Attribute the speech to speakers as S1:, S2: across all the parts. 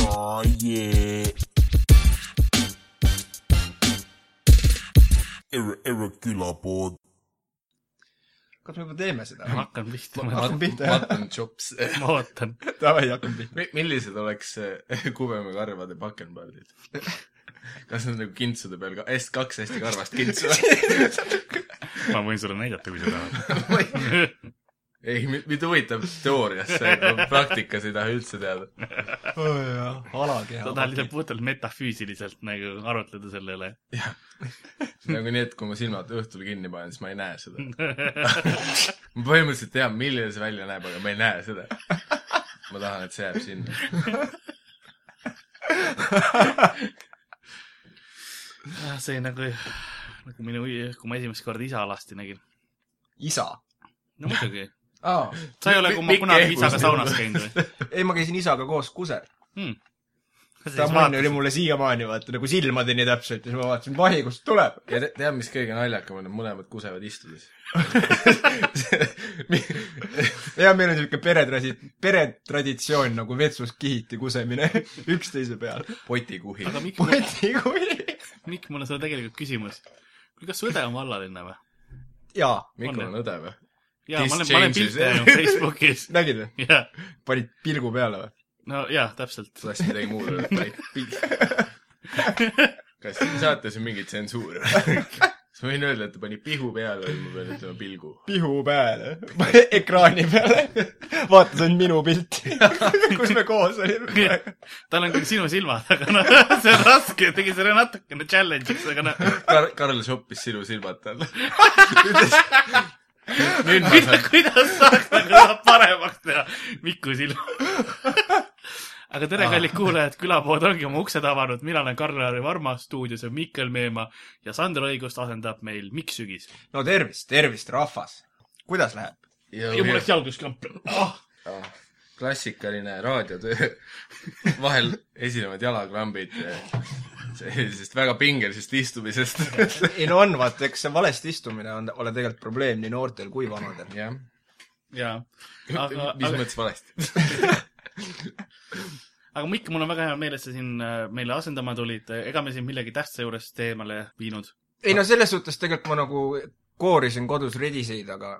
S1: Oh yeah. Irre- Irregular board.
S2: kas me juba teeme seda
S3: ma ? hakkan pihta , ma
S2: hakkan
S3: vaatan ,
S2: pihta , jah ?
S4: Mutton chops .
S3: ma vaatan .
S2: davai , hakkame pihta .
S4: Mi- millised oleks eh, kubeme karvade pakenpardid ? kas need on nagu kintsude peal ka , hästi kaks hästi karvast kintsu ?
S3: ma võin sulle näidata , kui sa tahad .
S4: ei , mind huvitab teoorias see , praktikas ei taha üldse teada .
S3: sa
S2: alakeha
S3: tahad . lihtsalt puhtalt metafüüsiliselt nagu arutleda selle üle .
S4: nagu nii , et kui ma silmad õhtul kinni panen , siis ma ei näe seda . ma põhimõtteliselt tean , milline see välja näeb , aga ma ei näe seda . ma tahan , et see jääb sinna .
S3: see nagu , nagu minu , kui ma esimest korda isa alasti nägin .
S2: isa .
S3: no muidugi .
S2: aa ,
S3: sa ei ole , kui ma
S4: Mikk
S3: kunagi
S4: Ehmus
S3: isaga
S4: nagu.
S3: saunas käinud või
S2: ei , ma käisin isaga koos Kuser .
S3: hmm. ?
S2: ta mann oli mulle siiamaani , vaata , nagu silmadeni täpselt ja siis ma vaatasin , vahi , kust tuleb .
S4: ja te- tead , mis kõige naljakam on , mõlemad kusevad istudes .
S2: ja meil on siuke peretradi- , peretraditsioon nagu vetsus kihiti kusemine üksteise peal .
S4: potikuhi .
S3: aga Mikk ,
S2: poti kui .
S3: Mikk , mul on sulle tegelikult küsimus . kuule , kas su õde on vallalinna või ?
S2: jaa ,
S4: Mikul on õde või ?
S3: jaa ,
S4: This
S3: ma olen , ma olen
S4: changes.
S3: pilte näinud Facebookis .
S2: nägid või ?
S3: jaa ,
S2: panid pilgu peale või ?
S3: no jaa , täpselt .
S4: sa tahtsid midagi muud öelda ? kas te saate siin mingit tsensuuri ? kas ma võin öelda , et ta pani pihu peale või ma pean ütlema pilgu ?
S2: pihu peale , ekraani peale . vaata , see on minu pilt , kus me koos olime .
S3: tal on küll sinu silmad , aga noh , see on raske , tegi selle natukene challenge'iks , aga noh ,
S4: Kar- , Karl shoppis sinu silmad talle . nüüd ma saan ,
S3: kuidas saaks nagu seda paremaks teha Miku silmad . aga tere , kallid kuulajad , külapood ongi oma uksed avanud , mina olen Karl-Lari Varma , stuudios on Mikkel Meemaa ja Sander Õigust asendab meil Mikk Sügis .
S2: no tervist , tervist , rahvas . kuidas läheb ?
S3: ja mul läks jalguskamp oh, .
S4: klassikaline raadiotöö . vahel esinevad jalakrambid sellisest väga pingelisest istumisest .
S2: ei no on , vaata , eks see valesti istumine on , ole tegelikult probleem nii noortel kui vanadel .
S4: jah ,
S3: jaa ,
S4: mis
S3: aga , aga
S4: mõttes valesti ?
S3: aga Mikk , mul on väga hea meel , et sa siin äh, meile asendama tulid , ega me siin millegi tähtsa juurest eemale viinud .
S2: ei no selles suhtes tegelikult ma nagu koorisin kodus rediseid , aga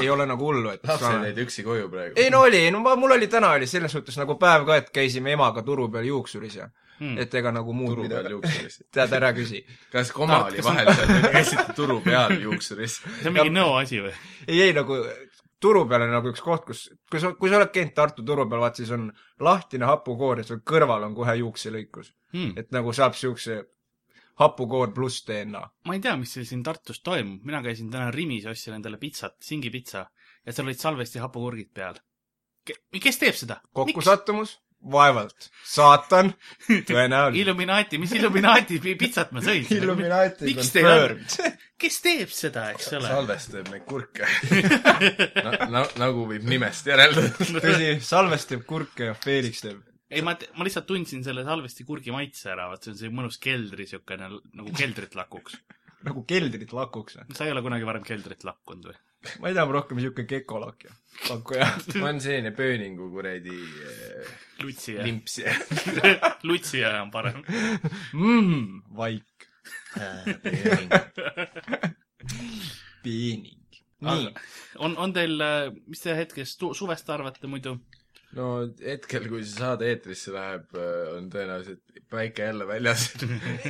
S2: ei ole nagu hullu , et
S4: lapsed jäid üksi koju praegu .
S2: ei no oli , no ma, mul oli täna oli selles suhtes nagu päev ka , et käisime emaga turu peal juuksuris ja
S3: Hmm.
S2: et ega nagu muud
S4: turu peal
S2: midagi .
S4: juuksuris .
S2: tead , ära küsi .
S4: kas koma oli vahel seal , käisite turu peal juuksuris ?
S3: see on mingi nõoasi või ?
S2: ei , ei nagu turu peal on nagu üks koht , kus , kui sa , kui sa oled käinud Tartu turu peal , vaat siis on lahtine hapukoor ja seal kõrval on kohe juukselõikus .
S3: Hmm.
S2: et nagu saab siukse hapukoor pluss DNA .
S3: ma ei tea , mis seal siin Tartus toimub , mina käisin täna Rimis ja ostsin endale pitsat , singipitsa ja seal olid salvesti hapukurgid peal . kes teeb seda ?
S2: kokkusattumus ? vaevalt . saatan ? tõenäoliselt .
S3: Illuminaati , mis Illuminaati pi- pitsat ma sõin ?
S2: Illuminati
S3: Miks teil on-
S2: confirmed .
S3: kes teeb seda , eks ole ?
S4: salvestab neid kurke na, . Na, nagu võib nimest järeldada .
S2: tõsi , Salves teeb kurke ja Felix teeb .
S3: ei , ma , ma lihtsalt tundsin selle salvesti kurgi maitse ära , vaat see on see mõnus keldri siukene , nagu keldrit lakuks .
S2: nagu keldrit lakuks .
S3: sa ei ole kunagi varem keldrit lakkunud või ?
S2: ma ei tea , ma rohkem siuke gekolak ja pakkuja .
S4: on selline pööningu kuradi eh,
S3: lutsi ja ,
S4: limps ja
S3: lutsi ja on parem .
S2: mm, . vaik .
S4: pööning .
S2: peening . nii
S3: Aga- . on , on teil , mis te hetkest tu- suvest arvate muidu ?
S4: no hetkel , kui see saade eetrisse läheb , on tõenäoliselt päike jälle väljas .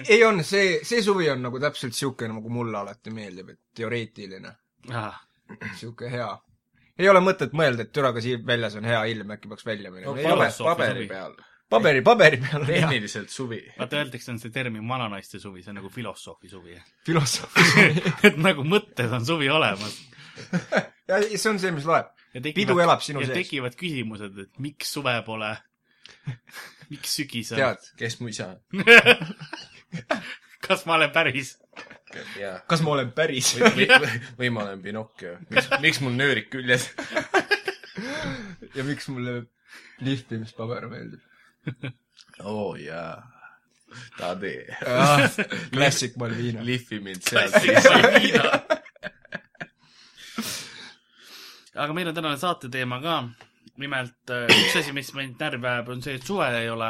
S2: ei on , see , see suvi on nagu täpselt siuke , nagu mulle alati meeldib , et teoreetiline . siuke hea . ei ole mõtet mõelda , et türa , kas il- väljas on hea ilm , äkki peaks välja minema
S4: no
S2: no, .
S4: paberi ,
S3: Filosoof-
S4: paberi peal .
S2: paberi , paberi peal on hea .
S4: tehniliselt suvi .
S3: vaata , öeldakse , on see termin vananaiste suvi , see on nagu filosoofi suvi .
S2: filosoof .
S3: et nagu mõtted on suvi olemas .
S2: ja see on see , mis loeb .
S3: ja
S2: Pidu elab sinu
S3: ja
S2: sees.
S3: tekivad küsimused , et miks suve pole , miks sügis on ,
S2: tead ,
S4: kes mu isa on ?
S3: kas ma olen päris ?
S4: jaa .
S2: kas ma olen päris ?
S4: või , või, või, või ma olen Pinocchio . miks , miks mul nöörik küljes ?
S2: ja miks mulle lihvimispaber meeldib ?
S4: oo oh, jaa . Tade .
S2: Ah, Classic Malvina .
S4: lihvi mind sealt .
S3: aga meil on tänane saate teema ka . nimelt äh, üks asi , mis mind närvi ajab , on see , et suve ei ole .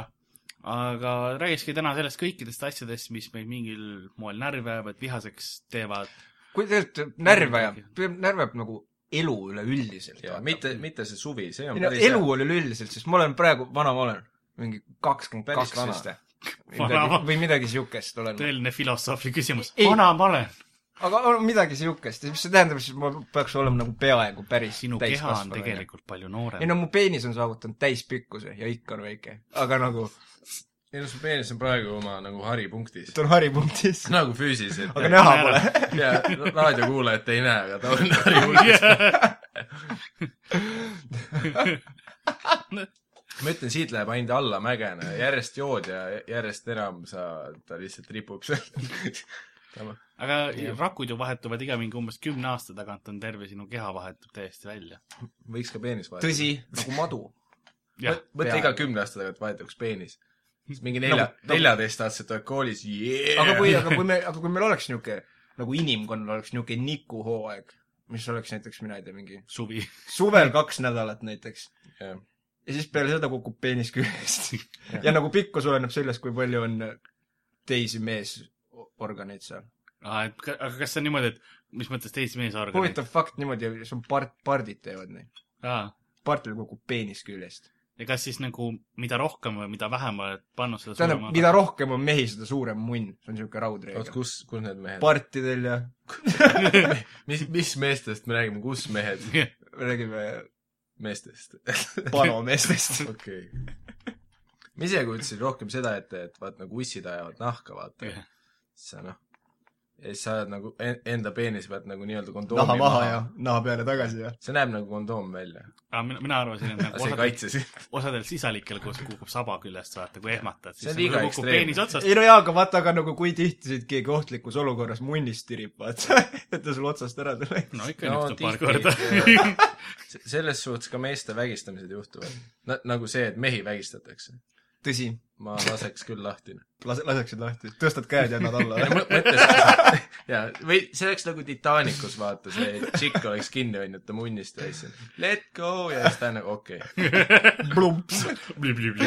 S3: aga räägikski täna sellest kõikidest asjadest , mis meil mingil moel närvi ajavad , vihaseks teevad .
S2: kui tegelikult närv ajab , närv ajab nagu elu üleüldiselt .
S4: ja mitte , mitte see suvi , see on
S2: ei no
S4: päris
S2: elu oli üleüldiselt , sest ma olen praegu , vana ma olen , mingi kakskümmend
S4: Päris
S2: kaks
S4: vana.
S2: vist või
S3: Vana
S2: midagi-
S3: ma-
S2: või midagi siukest olen .
S3: tõeline filosoofi küsimus .
S2: Ei.
S3: vana ma olen .
S2: aga on midagi siukest , mis see tähendab , siis ma peaks olema nagu peaaegu päris
S3: sinu keha on
S2: täiskasvanu, onju.
S3: tegelikult palju
S2: ei
S3: noorem .
S2: no mu peenis on saavutanud täispikkuse ja ikka on väike , aga nagu
S4: ei no su peenis on praegu oma nagu haripunktis
S2: ta . on haripunktis ,
S4: nagu füüsiliselt .
S2: aga näha pole .
S4: ja raadiokuulajat ei näe , aga ta on haripunktis . ma ütlen , siit läheb ainult allamägene , järjest jood ja järjest enam sa , ta lihtsalt ripub sealt .
S3: aga rakud ju vahetuvad iga mingi umbes kümne aasta tagant on terve sinu keha vahetub täiesti välja .
S4: võiks ka peenis vahetada .
S2: tõsi , nagu madu .
S3: jah ,
S4: mõtle
S2: Peaaegu.
S4: iga kümne aasta tagant vahetuks peenis . siis mingi nelja , neljateistaastased oled koolis yeah! .
S2: aga kui , aga kui me , aga kui meil oleks niisugune , nagu inimkonnal oleks niisugune nikuhooaeg , mis oleks näiteks , mina ei tea , mingi
S3: suvi .
S2: suvel kaks nädalat näiteks ,
S4: jah ,
S2: ja siis peale seda kukub peenis küljest . ja nagu pikkus oleneb sellest , kui palju on teisi meesorganeid seal .
S3: aga kas see on niimoodi , et mis mõttes teisi meesorganeid ?
S2: huvitav fakt niimoodi , see on part , pardid teevad nii .
S3: ja
S2: partil kukub peenis küljest .
S3: kas siis nagu , mida rohkem või mida vähem oled pannud seda
S2: tähendab ,
S3: suurema
S2: mida rohkem on mehi , seda suurem munn , see on niisugune
S4: oot ,
S2: raudreegel .
S4: kus , kus need mehed ?
S2: partidel ja
S4: mis , mis meestest me räägime , kus mehed ?
S2: räägime
S4: meestest .
S2: panomeestest .
S4: okei . ma ise kujutasin rohkem seda ette , et vaat nagu ussid ajavad nahka , vaata .
S3: Jah.
S4: siis sa noh , ja siis sa ajad nagu en- enda peenise pealt nagu nii-öelda kondoomi
S2: naha maha ja . naha peale tagasi ja .
S4: see näeb nagu kondoom välja ,
S3: ah, . mina , mina arvasin , et nagu
S4: aga see ei
S3: osadel ,
S4: kaitse sind .
S3: osadel sisalikel , kus kukub saba küljest , vaata , kui ehmatad ,
S4: See
S3: siis
S4: on
S3: nagu
S4: liiga
S3: kukub
S4: ekstreemne.
S3: peenis otsast
S2: ei no jaa , aga vaata , aga nagu kui tihti sind keegi ohtlikus olukorras munnist tirib , vaata . et ta sul otsast ära tuleks .
S3: no ikka
S4: No
S3: no, juhtub paar
S4: tihti-
S3: korda .
S4: selles suhtes ka meeste vägistamised juhtuvad Na, . nagu see , et mehi vägistatakse .
S2: tõsi ,
S4: ma laseks küll lahti .
S2: lase , laseksid lahti , tõstad käed ja annad alla .
S4: mõtlesin , jaa , või see oleks nagu Titanicus , vaata , see tšikk oleks kinni hoidnud ta munnist ja siis let go ja siis ta on nagu okei okay. .
S2: plumps .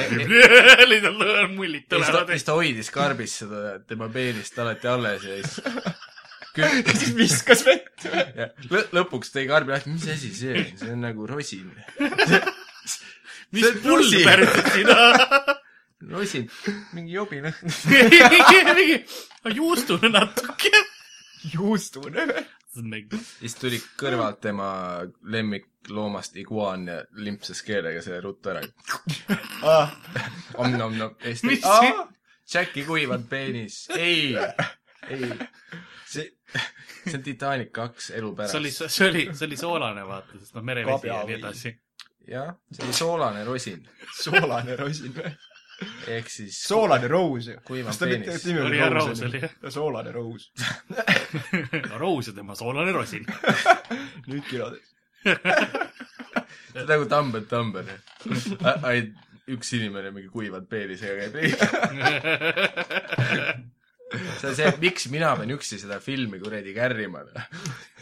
S3: lihtsalt lõõr mullid
S4: ja siis ta ,
S3: tulevad .
S4: siis ta hoidis karbis seda tema peenist alati alles ja siis küll
S2: ja siis viskas vett .
S4: ja lõ, lõpuks tõi karbi lahti , mis asi see on , see on nagu rosin .
S3: mis
S4: see on
S3: pull
S4: pusi.
S3: päriselt siin on ?
S4: rosin , mingi jobinõhn .
S3: mingi , juustune natuke .
S2: juustune .
S4: siis tuli kõrvalt tema lemmikloomast iguaan ja limpsas keelega selle ruttu ära .
S2: Ah.
S4: om-nom-nom .
S3: Mis see-
S4: Jacki kuivad peenis . ei , ei . see , see on Titanic kaks elu
S3: see oli ,
S4: pärast .
S3: see oli , see oli soolane , vaata , sest noh , merevesi ja
S2: Kabja
S3: nii
S2: või-
S3: edasi .
S4: jah , see oli soolane rosin
S2: soolane rosin või ?
S4: ehk siis
S2: soolane roos ju .
S4: Kuivam
S2: kas ta mitte
S4: peenis.
S2: nimi
S3: Oli
S2: oli
S3: jah,
S2: roos
S3: roos oli, jah. ?
S2: soolane roos .
S3: Rose ja tema soolane rosin .
S2: nüüd kilodes .
S4: see on nagu Dumber Dumber . ainult üks inimene mingi kuivad peenisega käib ringi . see on see , et miks mina pean üksi seda filmi kuradi kärrima .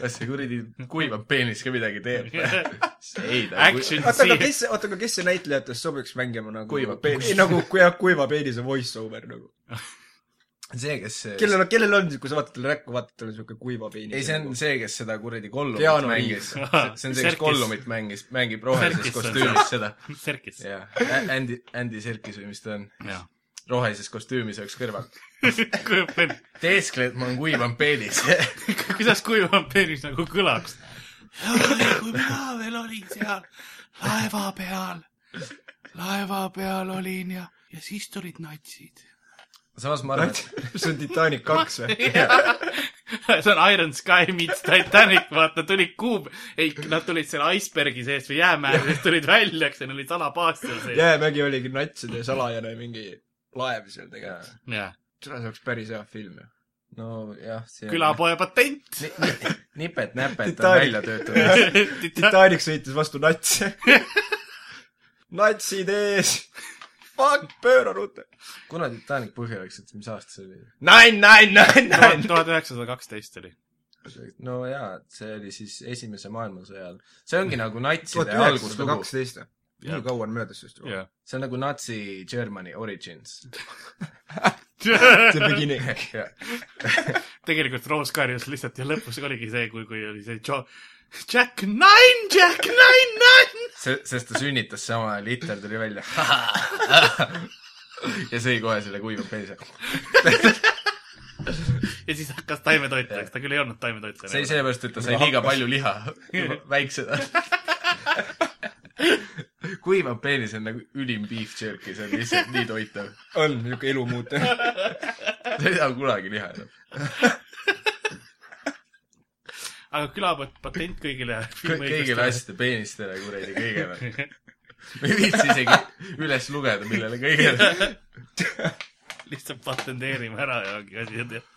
S4: kas see kuradi kuivad peenis ka midagi teeb ? ei ta
S3: Action
S2: oota , aga
S3: scene .
S2: kes , oota , aga kes see näitlejatest sobiks mängima nagu
S4: Kuiva peenist.
S2: ei, nagu kui jah , kuiva peenise voice over nagu .
S4: on see , kes see...
S2: kellel , kellel on , kui sa vaatad talle näkku , vaatad talle siuke kuiva nagu. peenis .
S4: ei , see on see , kes seda kuradi kollumit
S2: Keanu
S4: mängis . see
S3: Reaves.
S4: see on see , kes
S3: Serkis.
S4: kollumit mängis , mängib rohelises
S3: Serkis on
S4: kostüümis seda .
S3: Serkis .
S4: jah , Andy , Andy Serkis või mis ta on .
S3: jah .
S4: rohelises kostüümis oleks kõrval .
S3: kujutan ,
S4: teeskled , ma olen kuivam peenis .
S3: kuidas kuivam peenis nagu kõlaks . kui mina veel olin seal laeva peal , laeva peal olin ja , ja siis tulid natsid .
S4: samas ma arvan , et
S2: see on Titanic kaks või ?
S3: see on Iron Sky meets Titanic , vaata , tulid kuu , ei , nad tulid selle icebergi seest või jäämäe seest tulid välja , eks , ja neil oli salapaas seal sees .
S2: jäämägi oligi natside salajane mingi laev seal tegelikult .
S3: jah ,
S2: seda see oleks päris hea film ju .
S4: nojah , see
S3: külapoe patent .
S4: nipet-näpet on
S2: Titanic.
S4: välja töötatud .
S2: Titanic sõitis vastu natse . natsid ees . Fuck , pööra ruttu .
S4: kuna Titanic põhja läks , et mis aasta see oli ?
S2: nine , nine , nine , nine .
S3: tuhat üheksasada kaksteist oli .
S4: no jaa , see oli siis Esimese maailmasõja ajal . see ongi nagu natside
S2: tuhat üheksasada
S4: alguslugu .
S2: kaksteist või ?
S3: Jah.
S2: nii kaua on möödas sest juba .
S3: jah .
S4: see on nagu natsi Germany origins .
S2: see beginning .
S3: tegelikult Rose Garjus lihtsalt ja lõpus oligi see , kui , kui oli see jo- , Jack Nine , Jack Nine , Nine .
S4: see , sest ta sünnitas samal ajal , Hitler tuli välja . ja sõi kohe selle kuiva peise .
S3: ja siis hakkas taimetoitlejaks , ta küll ei olnud nagu. taimetoitleja .
S4: see oli sellepärast , et ta
S2: Nagu
S4: sai liiga palju liha . väiksena . kuiva peenis on nagu ülim beef jerky , see on lihtsalt nii toitav .
S2: on niisugune elu muutev .
S4: sa ei saa kunagi liha enam .
S3: aga külapatent patent kõigile .
S4: kõigile . asjade peenistele kuradi kõigele . ma ei viitsi isegi üles lugeda , millele kõigele .
S3: lihtsalt patenteerime ära ja ongi asi on tehtud .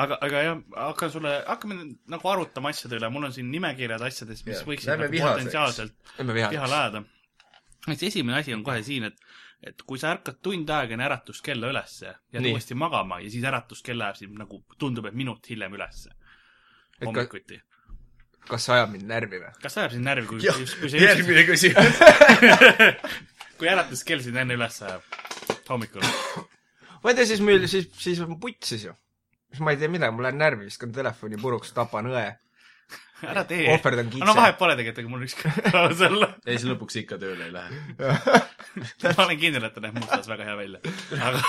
S3: aga , aga jah , hakkan sulle , hakkame nüüd nagu arutama asjade üle , mul on siin nimekirjad asjadest , mis
S4: Jah,
S3: võiksid
S4: lähme
S3: nagu
S4: vihaseks.
S3: potentsiaalselt
S2: lähme vihale .
S3: vihale ajada . näiteks esimene asi on kohe siin , et , et kui sa ärkad tund aega enne äratuskella ülesse , jääd
S2: Nii.
S3: uuesti magama ja siis äratuskell läheb sind nagu , tundub , et minut hiljem ülesse .
S2: ka-
S3: hommikuti .
S2: kas see ajab mind närvi või ?
S3: kas see ajab sind närvi , kui ,
S4: Jah,
S3: kui see ,
S4: järgmine küsimus .
S3: kui äratuskell sind enne üles ajab hommikul ?
S2: ma ei tea , siis meil , siis , siis on putsis ju . siis ma ei tea midagi , ma lähen närvi , viskan telefoni puruks , tapan õe .
S3: ära tee .
S2: Ohverdan kitse.
S3: no vahet pole tegelikult , aga mul võiks ka olla .
S4: ja siis lõpuks ikka tööle ei lähe .
S3: ma olen kindel , et ta näeb mustas väga hea välja . aga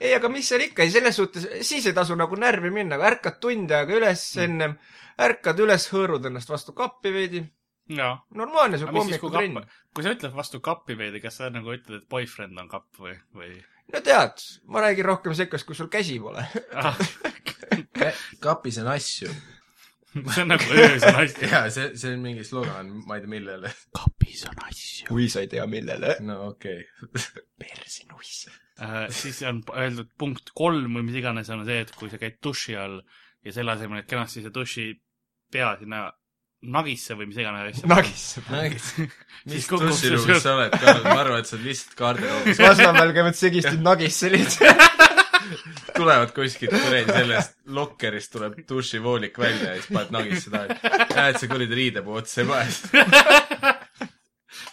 S2: ei , aga mis seal ikka , selles suhtes , siis ei tasu nagu närvi minna , aga ärkad tund aega üles
S3: Mm.
S2: ennem , ärkad üles , hõõrud ennast vastu kappi veidi .
S3: jaa .
S2: normaalne , see
S3: aga
S2: on
S3: mis siis , kui
S2: hommikutrenn
S3: kapp ., kui sa ütled vastu kappi veidi , kas sa nagu ütled , et boyfriend on kapp või , või ?
S2: no tead , ma räägin rohkem sekkast , kui sul käsi pole .
S3: Ah,
S4: kapis on asju .
S3: see on nagu öös on asju .
S4: jaa , see , see on mingi slogan , ma ei tea millele .
S3: kapis on asju .
S2: kui sa ei tea , millele .
S4: no okei okay. .
S2: persinuss .
S3: Äh, siis on p- öeldud punkt kolm või mis iganes on see , et kui sa käid duši all ja selle asemel , et kenasti see duši pea sinna nagisse või mis iganes asja .
S2: nagisse .
S3: siis
S4: mis
S3: kukub see
S4: duširuumis
S3: sul
S4: sa oled , Karl , ma arvan , et sa oled lihtsalt garderoobis .
S2: Lasnamäel käivad segistid nagisse lihtsalt .
S4: tulevad kuskilt kuradi sellest lokkerist tuleb dušivoolik välja ja siis paned nagisse taha . näed , sa kuradi riidepuu otsa ei pane .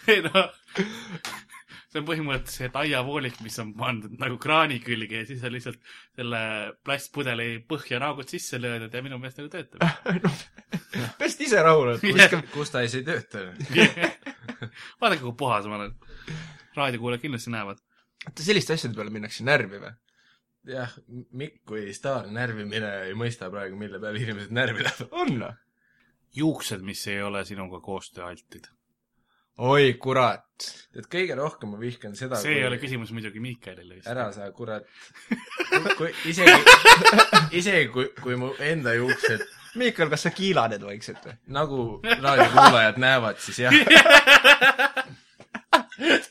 S3: ei noh , see on põhimõtteliselt aiavoolik , mis on pandud nagu kraani külge ja siis sa lihtsalt selle plastpudeli põhja naagud sisse löödud ja minu meelest nagu töötab .
S2: peast ise rahule , et viskab .
S4: kus ta siis ei tööta ?
S3: vaadake , kui puhas ma olen . raadiokuulajad kindlasti näevad .
S2: oota , selliste asjade peale minnakse närvi või ?
S4: jah , Mikk kui staar närvimine ei mõista praegu , mille peale inimesed närvi lähevad .
S2: on noh. või ?
S3: juuksed , mis ei ole sinuga koostööaltid .
S2: oi kurat .
S4: et kõige rohkem ma vihkan seda ,
S3: see ei ole küsimus muidugi Miikaelile vist .
S4: ära sa kurat , kui isegi , isegi kui , kui mu enda juuksed
S2: Miikal , kas sa kiilaned vaikselt või ?
S4: nagu raadiokuulajad näevad , siis jah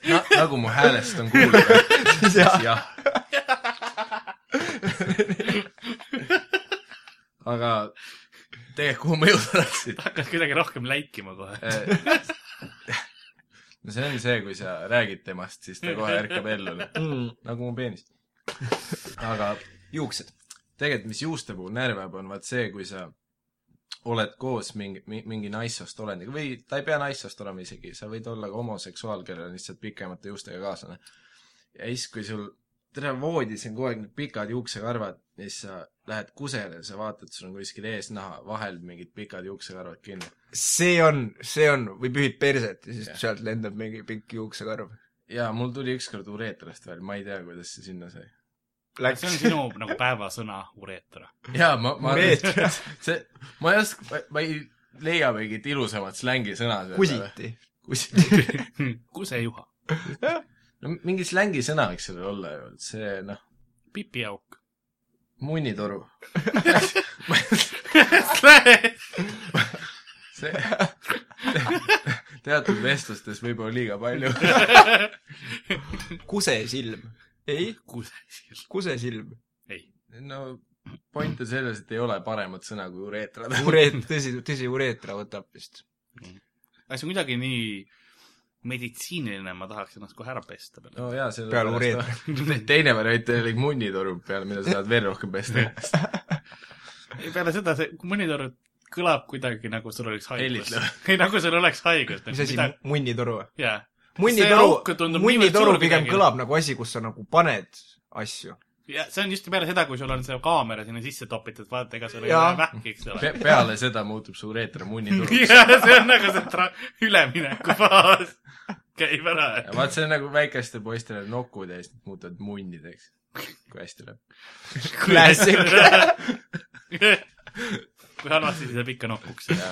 S4: Na, . nagu mu häälest on kuulda , siis jah . aga tegelikult , kuhu ma jõuda tahtsin ?
S3: hakkad kuidagi rohkem läikima kohe .
S4: Äh, no see on see , kui sa räägid temast , siis ta kohe ärkab ellu ,
S3: Mm.
S4: nagu mu peenis . aga
S2: juuksed .
S4: tegelikult , mis juuste puhul närvab , on vaat see , kui sa oled koos mingi , mingi naissoost olendiga või ta ei pea naissoost olema isegi , sa võid olla ka homoseksuaal , kellel on lihtsalt pikemate juustega kaaslane . ja siis , kui sul terve voodis on kogu aeg need pikad juuksekarvad ja siis sa lähed kusele ja sa vaatad , sul on kuskil eesnaha vahel mingid pikad juuksekarvad kinni .
S2: see on , see on , või pühid perset ja siis
S4: Jah.
S2: sealt lendab mingi pikk juuksekarv .
S4: ja mul tuli ükskord ureetrist veel , ma ei tea , kuidas see sinna sai .
S3: see on
S2: Läks .
S3: sinu nagu päevasõna , ureeter .
S4: jaa , ma , ma
S2: Ureeter. ,
S4: see , ma ei oska , ma ei leia mingit ilusamat slängisõna .
S2: kusiti .
S4: kusit .
S3: kusejuha ,
S4: no mingi slängisõna võiks sellel olla ju , et see noh ,
S3: pipiauk .
S4: munnitoru , see teatud vestlustes võib-olla liiga palju .
S2: kusesilm . ei ,
S3: kusesilm ,
S2: kusesilm .
S3: ei .
S4: no point on selles , et ei ole paremat sõna kui ureetra .
S2: ureet- , tõsi , tõsi , ureetra võtab vist .
S3: aga see on kuidagi nii meditsiiniline , ma tahaks ennast kohe ära pesta peale .
S4: no jaa , selle
S2: Peale ureetra. .
S4: teine variant oli munnitoru peale , mida sa saad veel rohkem pesta .
S3: peale seda , see , kui mõni tuleb kõlab kuidagi nagu sul oleks haigus
S4: Hellitleb. .
S3: ei , nagu sul oleks haigus .
S2: mis asi ,? munnitoru või ?
S3: jaa . auk
S2: munnitoru ,
S3: tundub
S2: munnitoru
S3: niivõrd
S2: pigem
S3: suur
S2: kõlab nagu asi , kus sa nagu paned asju .
S3: jah , see on just peale seda , kui sul on see kaamera sinna sisse topitud , vaata , ega sul ei
S2: Jaa.
S3: ole vähki , eks ole
S4: Pe- , peale seda muutub su reeter munnituruks .
S3: jah , see on nagu see tra- , üleminekufaas käib ära .
S4: vaat see on nagu väikestel poistel on nokud ja siis nad muutuvad munnideks , kui hästi läheb .
S3: klassik . kui halvasti , siis jääb ikka nokuks .
S4: ja ja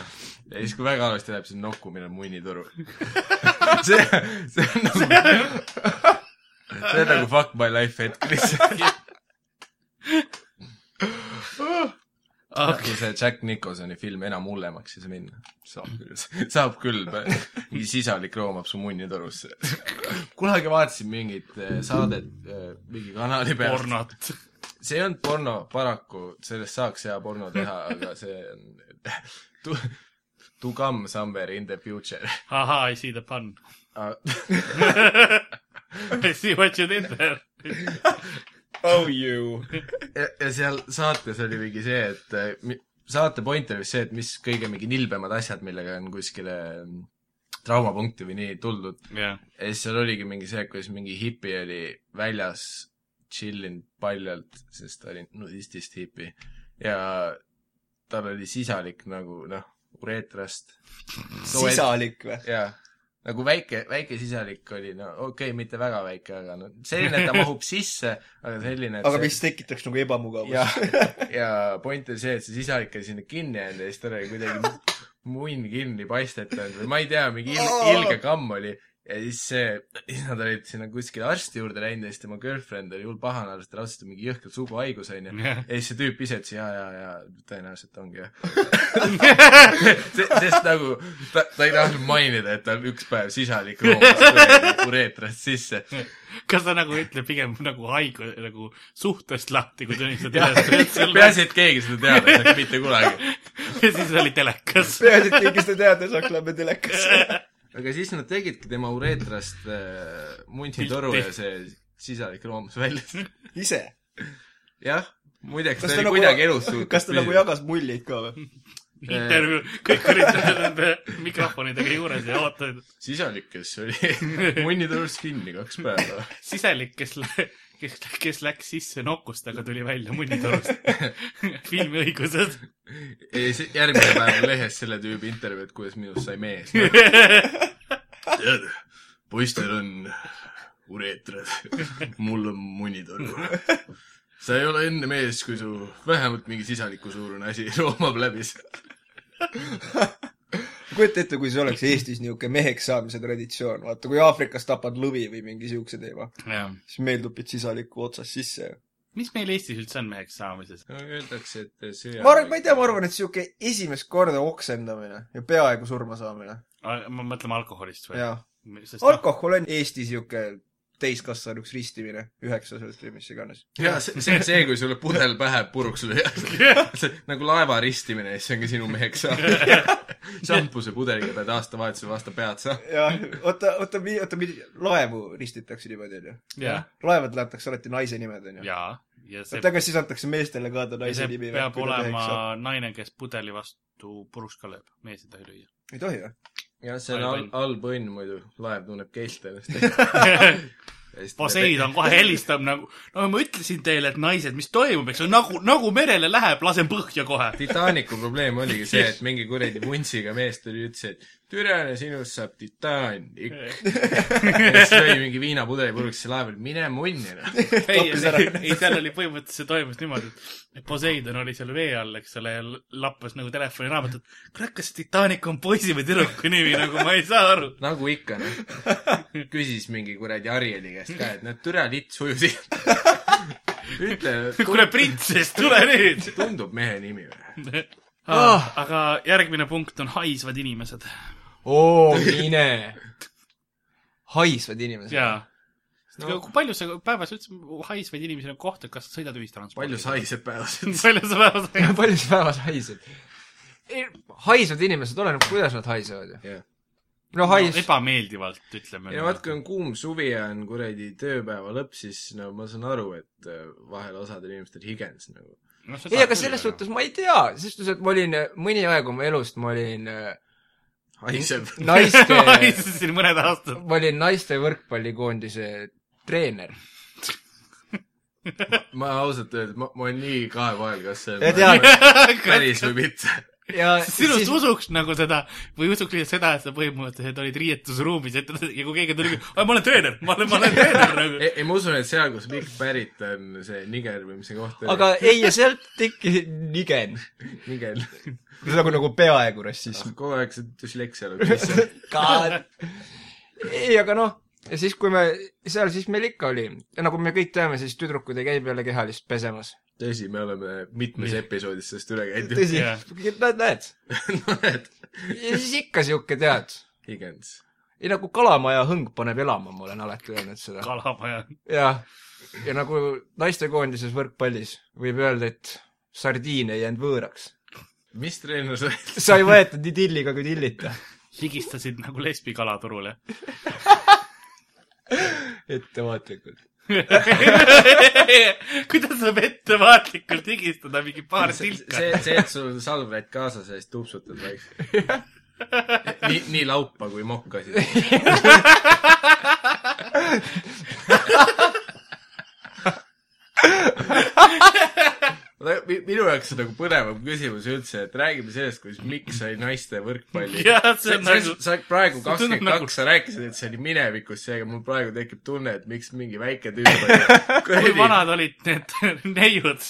S4: siis , kui väga halvasti läheb , siis on nokkumine on munnitoru . see , see on nagu , see on nagu fuck my life hetk lihtsalt .
S3: okei , Ah,
S4: kui see Jack Nicholsoni film enam hullemaks ei saa minna . saab küll , saab küll . mingi sisalik roomab su munnitorusse . kunagi vaatasin mingit eh, saadet eh, mingi kanali pealt .
S3: pornot .
S4: see ei olnud porno , paraku , sellest saaks hea porno teha , aga see on to, to come somewhere in the future .
S3: ahaa , I see the pun . I see what you did there .
S2: Oh you .
S4: ja, ja seal saates oli mingi see , et äh, mi- saate point oli vist see , et mis kõige mingi nilbemad asjad , millega on kuskile mm, traumapunkti või nii tuldud .
S3: jah ,
S4: ja siis seal oligi mingi see , kuidas mingi hipi oli väljas chillinud paljalt , sest ta oli nudistist hipi ja tal oli sisalik nagu noh , ureetrast .
S2: sisalik või ?
S4: jaa , nagu väike , väike sisalik oli , no okei okay, , mitte väga väike , aga no selline , et ta mahub sisse , aga selline , et
S2: aga
S4: see-
S2: mis tekitaks nagu
S4: ja
S2: ebamugavust .,
S4: ja point oli see , et see sisalik oli sinna kinni jäänud ja siis tal oli kuidagi munn kinni paistetanud või ma ei tea , mingi il- , ilge kamm oli . ja siis see , siis nad olid sinna kuskile arsti juurde läinud ja siis tema girlfriend oli hull pahane , arst raudselt mingi jõhkralt suguhaigus onju .
S3: jah .
S4: ja siis see tüüp ise ütles ja , ja , ja tõenäoliselt ongi jah . sest nagu ta , ta ei tahtnud mainida , et tal üks päev sisalik roomas ureetrast sisse .
S3: kas ta nagu ütleb pigem nagu haigu , nagu suhtest lahti , kui tunnistad üles ?
S4: peaasi , et keegi seda teada ei saaks mitte kunagi .
S3: ja siis oli telekas .
S2: peaasi , et keegi seda teada saaks , lähme telekasse .
S4: aga siis nad tegidki tema ureetrast äh, munditoru
S3: Pilti.
S4: ja see sisalik roomas välja .
S2: ise .
S4: jah , muideks
S2: kas
S4: ta
S2: ta
S4: oli
S2: nagu
S4: kuidagi elus suutnud .
S2: kas ta nagu jagas muljeid ka või ?
S3: intervjuu , kõik olid nende mikrofonidega juures ja ootasid .
S4: sisalik , kes oli munditorus kinni kaks päeva .
S3: siselik , kes , kes , kes läks sisse nokust , aga tuli välja monitorist . filmiõigused .
S4: ja siis järgmine päev on lehes selle tüübi intervjuu , et kuidas minust sai mees . tead , poistel on ureetrad , mul on munitoru . sa ei ole enne mees , kui su vähemalt mingi sisaliku suurune asi roomab läbi .
S2: kujuta ette , kui see oleks Eestis niisugune meheks saamise traditsioon , vaata kui Aafrikas tapad lõvi või mingi siukse teema , siis meil tupid sisaliku otsast sisse .
S3: mis meil Eestis üldse on meheks saamises ?
S4: Öeldakse , et see
S2: ma arvan , ma ei tea , ma arvan , et sihuke esimest korda oksendamine ja peaaegu surma saamine .
S3: ma mõtlen alkoholist või ?
S2: jaa .
S3: sest noh ,
S2: alkohol on Eestis sihuke täiskasvanuks ristimine , üheksaselt või mis iganes .
S4: jaa , see , see , see , kui sulle pudel pähe puruks
S3: noh.
S4: lüüakse . see nagu laeva ristimine , siis see on ka sinu meheks saanud . šampuse pudeliga pead aastavahetusel vastu pead saama .
S2: jaa , oota , oota , oota , laevu ristitakse niimoodi , onju .
S3: jaa ,
S2: laevad lähetakse alati naise nimed , onju .
S3: jaa . ja see ,
S2: oota , aga siis antakse meestele ka ta naise
S3: see
S2: nimi
S3: peab olema naine , kes pudeli vastu puruks ka lööb . mees ei tohi
S2: ei tohi või ?
S4: jah , see on
S3: Halb
S4: hal-
S3: õnn. ,
S4: halb õnn muidu , laev tunneb keelt ennast .
S3: lüüa . Poseidon kohe helistab nagu , no ma ütlesin teile , et naised , mis toimub , eks ole , nagu , nagu merele läheb , lasen põhja kohe .
S4: Titanicu probleem oligi see , et mingi kuradi vuntsiga mees tuli ja ütles , et türane sinust saab Titanic . ja siis lõi mingi viinapudeli puruks ja laev oli mine munni noh .
S3: ei ,
S2: Toppis ära.
S3: ei , seal oli põhimõtteliselt , see toimus niimoodi , et Poseidon oli seal vee all , eks ole , ja lappas nagu telefoniraamatut . kurat , kas Titanic on poisi või tüdruku nimi , nagu ma ei saa aru .
S4: nagu ikka noh . küsis mingi kuradi Arieli käest ka , et noh , türa lits ujusid . ütle ,
S3: kuule , printsess , tule nüüd
S4: tundub mehe nimi või ?
S3: ah, . aga järgmine punkt on haisvad inimesed .
S2: oo , mine . haisvad inimesed .
S3: jaa .
S4: No.
S3: kui palju sa päevas üldse haisvaid inimesi nagu kohtad , kas sa sõidad
S4: palju
S3: ühistranspordiga ?
S4: saiseb päevas ?
S3: palju sa päevas haised ?
S2: palju sa päevas haised ? haisvad inimesed , oleneb , kuidas nad haisevad ju .
S4: ei
S2: no hais no, ,
S3: ebameeldivalt , ütleme .
S4: no vaat , kui on kuum suvi ja on kuradi tööpäeva lõpp , siis no ma saan aru , et äh, vahel osadel eh, inimestel higens nagu .
S2: ei , aga selles . suhtes ma ei tea , selles suhtes , et ma olin äh, mõni aeg oma elust , ma olin äh,
S4: haiseb .
S3: ma
S2: naiste ,
S3: haisesin mõned aastad .
S2: ma olin naiste võrkpallikoondise treener .
S4: ma ausalt öeldes , ma , ma olen nii kahe vahel , kas
S2: ja
S4: see
S2: tead ,
S4: päris või mitte .
S2: ja
S3: sinust siis...
S2: siis ,
S3: usuks nagu seda või usuks lihtsalt seda , et sa põhimõtteliselt olid riietusruumis , et ja kui keegi tuli , ma olen treener , ma olen , ma olen treener nagu .
S4: ei , ma usun , et seal , kus Mikk pärit on , see niger või mis see koht oli .
S2: aga ei , ja sealt tekkis nigen .
S4: niger .
S2: see on nagu , nagu peaaegu rassism .
S4: kogu aeg see düsleksia oli pisse .
S2: God . ei , aga noh , ja siis , kui me seal , siis meil ikka oli . ja nagu me kõik teame , siis tüdrukud ei käi peale kehalist pesemas .
S4: tõsi , me oleme mitmes episoodis sellest üle käinud .
S2: tõsi
S3: Jah. ,
S2: näed , näed .
S4: näed ,
S2: ja siis ikka sihuke , tead ,
S4: Higgins .
S2: ei nagu kalamaja hõng paneb elama , ma olen alati öelnud seda .
S3: nagu kalamaja .
S2: jah , ja nagu naistekoondises võrkpallis võib öelda , et sardiin ei jäänud võõraks .
S4: mis treener sa oled ?
S2: sa ei võetud nii tilliga kui tillita .
S3: higistasid nagu lesbi kalaturule .
S2: ettevaatlikult .
S3: kuidas saab ettevaatlikult higistada mingi paar
S4: see ,
S3: tilka ?
S4: see , et sul on salvraid kaasas ja siis tupsutad vaikselt . nii , nii laupa kui mokkasid . minu jaoks on nagu põnevam küsimus üldse , et räägime sellest , kuidas Mikk sai naiste võrkpalli .
S3: jah , see
S4: sa
S3: on nagu ,
S4: sa oled praegu
S3: see tundub
S4: kakskümmend
S3: nagu-
S4: kaks , sa rääkisid , et see oli minevikus , seega mul praegu tekib tunne , et miks mingi väike tüüp oli .
S3: kui
S4: kuradi ,
S3: vanad olid need neiud .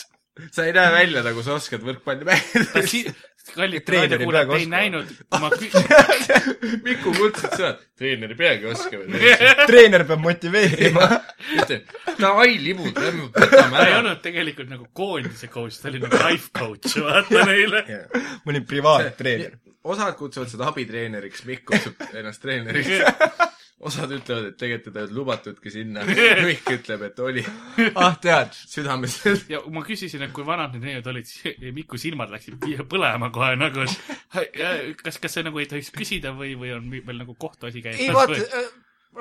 S4: sa ei näe välja nagu sa oskad võrkpalli mängida .
S3: kallid
S2: Treeneri
S3: raadiokuulajad
S2: peaga
S3: ei
S2: oskama.
S3: näinud , ma kü- ,
S4: Miku kutsus seda , treener ei peagi oskama .
S2: treener peab motiveerima .
S4: davai , libud , lähme
S3: ta
S4: võtame
S3: ei
S4: ära .
S3: olnud tegelikult nagu koondise coach , ta oli nagu life coach , vaata neile .
S2: ma olin privaattreener .
S4: osad kutsuvad seda abitreeneriks , Mikk kutsub ennast treeneriks . osad ütlevad , et tegelikult teda ei olnud lubatudki sinna . Mikk ütleb , et oli
S2: ah , tead ,
S4: südames .
S3: ja ma küsisin , et kui vanad need neiud olid , siis Miku silmad läksid pi- põlema kohe nagu , et kas , kas see nagu ei tohiks küsida või , või on mi- veel nagu kohtuasi käimas ?
S2: ei vaata ,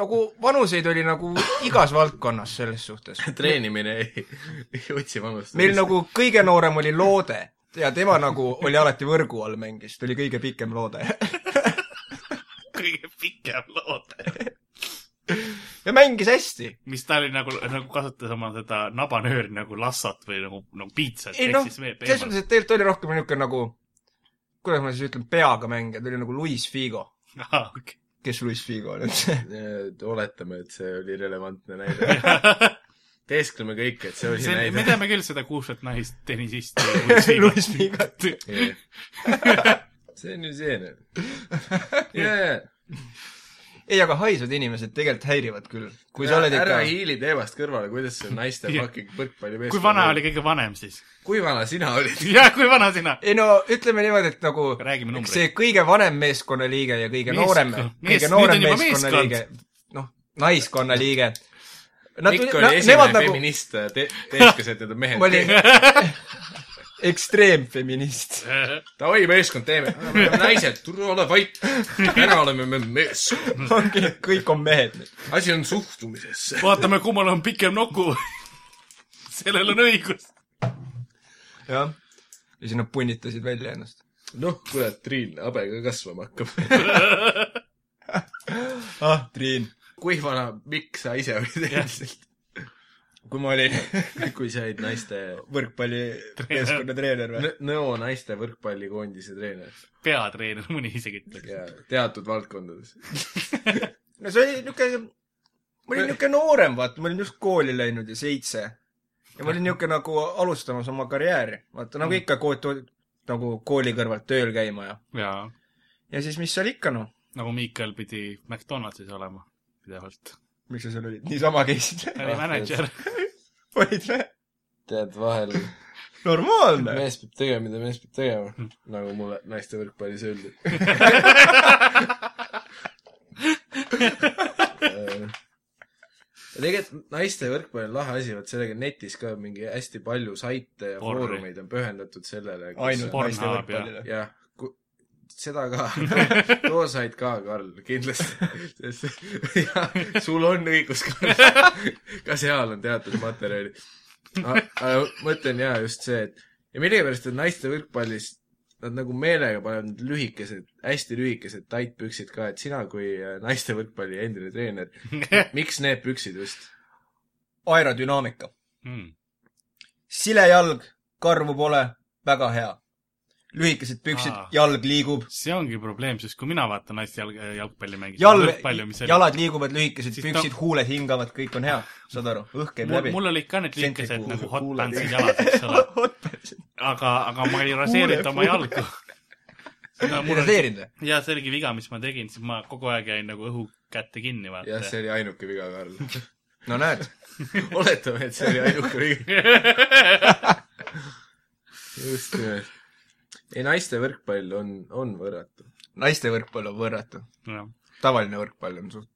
S2: nagu vanuseid oli nagu igas valdkonnas selles suhtes .
S4: treenimine ei , ei otsi vanust .
S2: meil nagu kõige noorem oli Loode ja tema nagu oli alati võrgu all mängis , ta oli kõige pikem Loode .
S3: kõige pikem lood .
S2: ja mängis hästi
S3: mis ta oli nagu , nagu kasutas oma seda nabanööri nagu lassat või nagu , nagu piitsat .
S2: ei noh , selles mõttes , et tegelikult oli rohkem niisugune nagu , kuidas ma siis ütlen , peaga mängija , ta oli nagu Luis Figo .
S3: mõttes .
S2: kes Luis Figo on üldse ?
S4: Äh, oletame , et see oli relevantne näide . teeskleme kõik , et see oli see
S3: see , me
S4: näide .
S3: teame küll seda kuulsat naist tennisisti .
S2: Luis Figot. .
S4: see on ju see . noh. jajah .
S2: ei , aga haisvad inimesed tegelikult häirivad küll . kui sa oled
S4: ära
S2: ikka ,
S4: hiili teemast kõrvale , kuidas see naiste
S3: Jah.
S4: fucking võrkpallimees
S3: kui vana oli ? kõige vanem siis ?
S4: kui vana sina olid ?
S3: jah , kui vana sina ?
S2: ei no ütleme niimoodi , et nagu
S3: Räägime numbreid.
S2: see kõige vanem meeskonnaliige ja kõige
S3: Meesko-
S2: noorem ,
S3: mees-
S2: kõige noorem
S3: nüüd on juba
S2: meeskonnaliige , noh , naiskonnaliige .
S4: Mikk oli esimene
S2: nagu
S4: feminist , äh, teeskas , et need on
S2: ma olin
S4: mehed .
S2: ekstreemfeminist .
S4: davai , meeskond , teeme . naised , tule ole vait . täna oleme me mees .
S2: ongi , kõik on mehed nüüd .
S4: asi on suhtumises .
S3: vaatame , kummal on pikem nuku . sellel on õigus .
S2: jah . ja siis nad punnitasid välja ennast .
S4: noh , kurat , Triin , habe ka kasvama hakkab .
S2: ah , Triin .
S4: kui vana , miks sa ise olid endiselt ?
S2: kui ma olin
S4: kui sa olid naiste ,
S2: võrkpalli meeskonna treener või ?
S4: Nõo naiste võrkpallikoondise treener
S3: peatreener , mõni isegi ütleb .
S4: ja teatud valdkondades .
S2: no see oli niisugune , ma olin niisugune noorem , vaata , ma olin just kooli läinud ja seitse . ja ma olin niisugune nagu alustamas oma karjääri , vaata
S3: Mm.
S2: nagu ikka kooli , nagu kooli kõrvalt tööl käima ja ,
S3: jaa ,
S2: ja siis mis seal ikka noh ,
S3: nagu Miikal pidi McDonaldsis olema pidevalt .
S2: miks sa seal olid , niisama käisid
S3: ta oli
S4: Ah,
S3: mänedžer .
S2: olid või ?
S4: tead , vahel
S2: normaalne .
S4: mees peab tegema , mida mees peab tegema . nagu mulle naiste võrkpallis öeldi . Äh, tegelikult naiste võrkpall on lahe asi , vot sellega on netis ka mingi hästi palju saite ja
S3: Porri.
S4: foorumeid on pühendatud sellele .
S2: ainult
S3: Pornhub,
S2: naiste võrkpallile .
S4: jah , seda ka . too said ka , Karl , kindlasti . sul on õigus , Karl . ka seal on teatud materjali . aga ma mõtlen jaa , just see , et ja millegipärast on naiste võrkpallis , nad nagu meelega panevad need lühikesed , hästi lühikesed tait püksid ka , et sina kui äh, naiste võrkpalli endine treener , miks need püksid just ?
S2: aerodünaamika .
S3: mm. .
S2: silejalg , karvu pole , väga hea . lühikesed püksid
S3: Aa. ,
S2: jalg liigub ,
S3: see ongi probleem , sest kui mina vaatan naiste jalg , jalgpalli mängida ,
S2: jalg
S3: võrkpalli , mis , oli ,
S2: jalad liiguvad , lühikesed
S3: Siis ta-
S2: püksid , huuled hingavad , kõik on hea , saad aru , õhk käib läbi .
S3: mul olid ka need lühikesed
S2: Tsentrikuul-
S3: nagu hot
S4: kuuled-
S3: pantsid jalas , eks ole , aga , aga ma ei raseerinud oma
S4: kuuled.
S3: jalgu . seda mul oli ,
S2: irriteerinud või ?
S3: ja see oligi viga , mis ma tegin , siis ma kogu aeg jäin nagu õhu kätte kinni ,
S4: jah ,
S3: vaata .
S4: see oli ainuke viga , Karl .
S2: no näed ,
S4: oletame , et see oli ainuke viga . just nimelt . ei , naiste võrkpall on , on võrratu .
S2: naiste võrkpall on võrratu .
S3: noh ,
S2: tavaline võrkpall on suht- .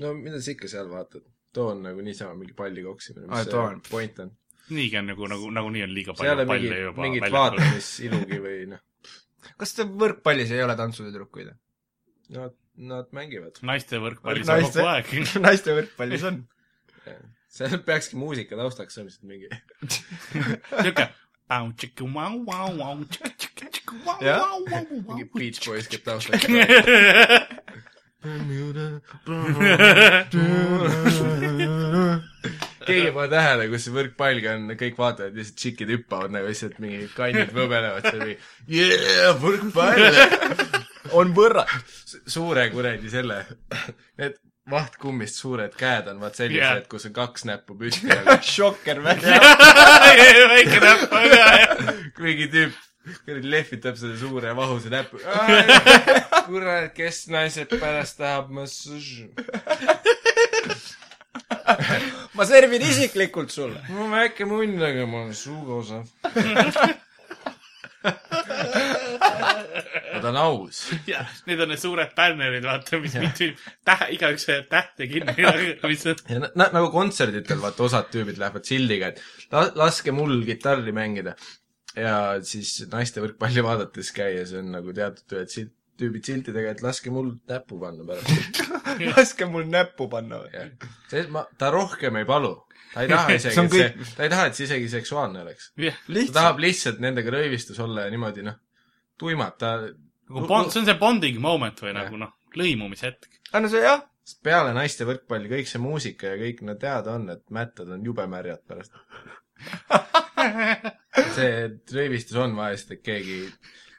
S4: no mida sa ikka seal vaatad ? too on nagu niisama mingi palli koksimine ,
S2: Aa,
S4: mis
S2: too on.
S4: see point on .
S3: niigi on nagu , nagu , nagunii on liiga
S4: see ei ole
S3: palju
S4: mingi
S3: palle , juba
S4: mingit
S3: väljakul .
S4: vaatamisilugi või noh ,
S2: kas te võrkpallis ei ole tantsutüdrukuid või ?
S4: nad , nad mängivad .
S3: naiste võrkpallis on
S2: Naiste-
S3: kogu aeg .
S2: naiste võrkpallis on .
S4: seal peakski muusika taustaks olema lihtsalt mingi
S3: sihuke . mingi
S4: mingi Beach Boys käib taustaks . keegi ei pane tähele , kus see võrkpall on , kõik vaatavad , lihtsalt tšikid hüppavad nagu lihtsalt mingi kannid võbelevad seal mingi yeah, võrkpall on võrra- , suure kuradi selle , need vahtkummist suured käed on vaat sellised
S3: Jah.
S4: yeah. , kus on kaks näppu püsti nagu
S2: šokker välja .
S3: väike näpp on ka , jah .
S4: mingi tüüp kuradi lehvitab selle suure vahuse näpu . kurat , kes naised pärast tahab massaaži ?
S2: ma servin isiklikult sulle .
S4: ma olen väike munn , aga ma olen suuga osav . ma tahan aus .
S3: Need on need suured bännerid , vaata , mis mitu tähe , igaüks jääb tähte kinni , mis on .
S4: ja na- na- nagu kontserditel , vaata , osad tüübid lähevad sildiga , et la- laske mul kitarri mängida . ja siis naiste võrkpalli vaadates käies on nagu teatud ühed silt- , tüübid siltidega , et laske mul näppu panna pärast .
S2: laske mul näppu panna või ?
S4: jah , see , ma , ta rohkem ei palu . ta ei taha
S2: See
S4: isegi ,
S2: on
S4: et see , ta ei taha , et see isegi seksuaalne oleks . ta
S2: lihtsalt .
S4: tahab lihtsalt nendega röövistus olla ja niimoodi noh , tuimad , ta
S3: nagu bond , see on see bonding moment või nagu noh , lõimumise hetk .
S2: Ah, no see jah ,
S4: peale naiste võrkpalli kõik see muusika ja kõik nad teada on , et mättad on jube märjad pärast . see röövistus on vahest , et keegi ,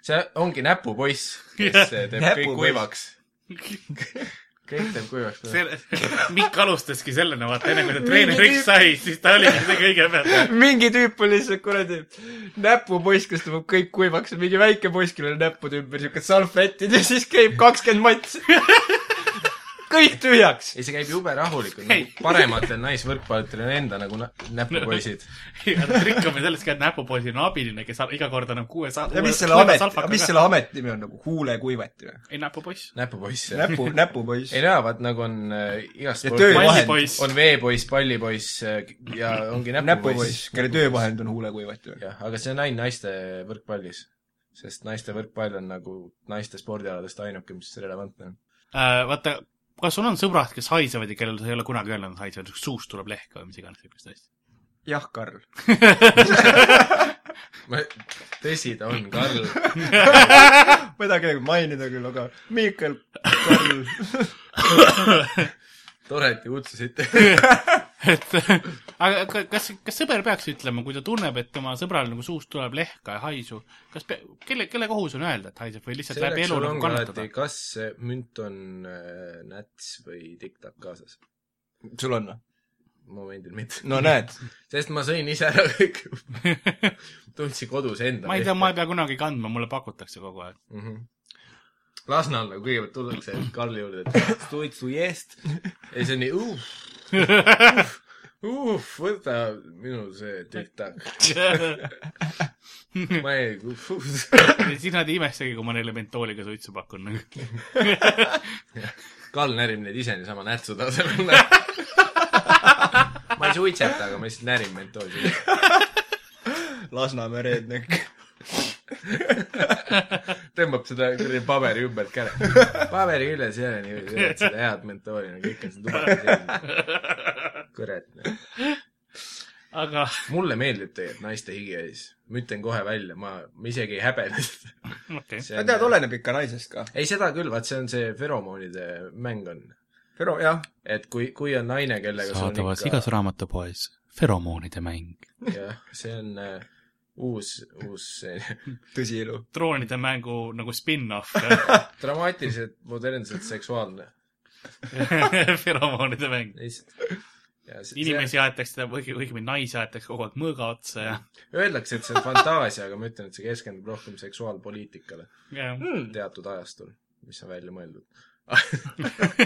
S4: see ongi näpupoiss , kes teeb kõik
S2: Näpupoiss.
S4: kuivaks . kõik teeb kuivaks .
S3: Mikk alustaski sellena , vaata , enne kui ta treeneriks sai , siis ta oligi see kõigepealt .
S2: mingi tüüp on lihtsalt kuradi näpupoiss , kes tõmbab kõik kuivaks ja mingi väike poiss , kellel on näppude ümber siuke salvetid ja siis käib kakskümmend matsi . kõik tühjaks .
S4: ei , see käib jube rahulikult ,
S3: Ei.
S4: nagu parematel naisvõrkpallitel on enda nagu nä- näpupoisid .
S3: ja trikk on veel selles ka , et näpupoisil on abiline , kes iga kord annab kuue sa- .
S2: ja mis selle ameti , mis selle ameti nimi on nagu huulekuivati või ?
S3: ei , näpupoiss .
S4: näpupoiss , jah .
S2: näpu , näpupoiss
S4: ei . no jaa , vaat nagu on äh, igas
S2: Ja
S4: spordi-
S2: töövahend.
S3: Pallipoiss.
S4: on veepoiss , pallipoiss äh, ja ongi näpupoiss
S2: näpupoiss ,. kelle töövahend on huulekuivati või ?
S4: jah , aga see on ainult naiste võrkpallis . sest naiste võrkpall on nagu naiste spordialadest ainuke , mis relevantne on .
S3: Äh, vaata , kas sul on sõbrad , kes haisevad ja kellel sa ei ole kunagi öelnud , et nad haisevad , suust tuleb lehk või mis iganes siukest asja ?
S2: jah , Karl .
S4: ma , tõsi ta on , Karl .
S2: ma ei taha kedagi mainida küll , aga Miikal , Karl .
S4: tore , et te kutsusite .
S3: et aga ka- kas , kas sõber peaks ütlema , kui ta tunneb , et tema sõbral nagu suust tuleb lehka ja haisu , kas pe- , kelle , kelle kohus on öelda , et haiseb või lihtsalt läbi
S4: selleks
S3: elu
S4: sul
S3: nagu
S4: ongi
S3: kannatada
S4: alati ,? kas see münt on äh, näts või tiktak kaasas .
S2: sul on või ?
S4: momendil mitte .
S2: no näed .
S4: sest ma sõin ise ära kõik . tundsin kodus enda .
S3: ma ei tea , ma ei pea kunagi kandma , mulle pakutakse kogu aeg .
S4: mm . -hmm. Lasnamäel nagu kõigepealt tullakse Karli juurde , et suitsu eest . ja siis on nii , uh , uh , võta minu see tiktak . ma ei ,
S3: siis nad ei imestagi , kui ma neile mentooliga suitsu pakun nagu. .
S4: Karl närib neid ise niisama nätsu tasemel . ma ei suitseta , aga ma lihtsalt närin mentoosi .
S2: Lasnamäe reednik .
S4: tõmbab seda kuradi paberi ümbert käre . paberi küljes ei ole niimoodi , et seda head mentooli , no kõik on seal tubakas . kurat .
S3: aga
S4: noh. mulle meeldib tegelikult naiste higiais . ma ütlen kohe välja , ma , ma isegi ei häbene seda .
S3: okei okay. ,
S2: no tead , oleneb ikka naisest ka .
S4: ei , seda küll , vaat see on see feromoonide mäng on .
S2: Pero jah ,
S4: et kui , kui on naine , kellega
S5: saadavas
S4: sul on
S5: igas
S4: ikka ,
S5: raamatupoes feromoonide mäng .
S4: jah , see on äh, uus , uus see-
S2: tõsielu .
S3: droonide mängu nagu spin-off ,
S4: dramaatiliselt modernselt seksuaalne .
S3: feromoonide mäng .
S4: lihtsalt .
S3: inimesi aetakse , õigemini naisi aetakse kogu aeg mõõga otsa ja ,
S4: Öeldakse , et see on fantaasia , aga ma ütlen , et see keskendub rohkem seksuaalpoliitikale
S3: ja
S4: teatud ajastul , mis on välja mõeldud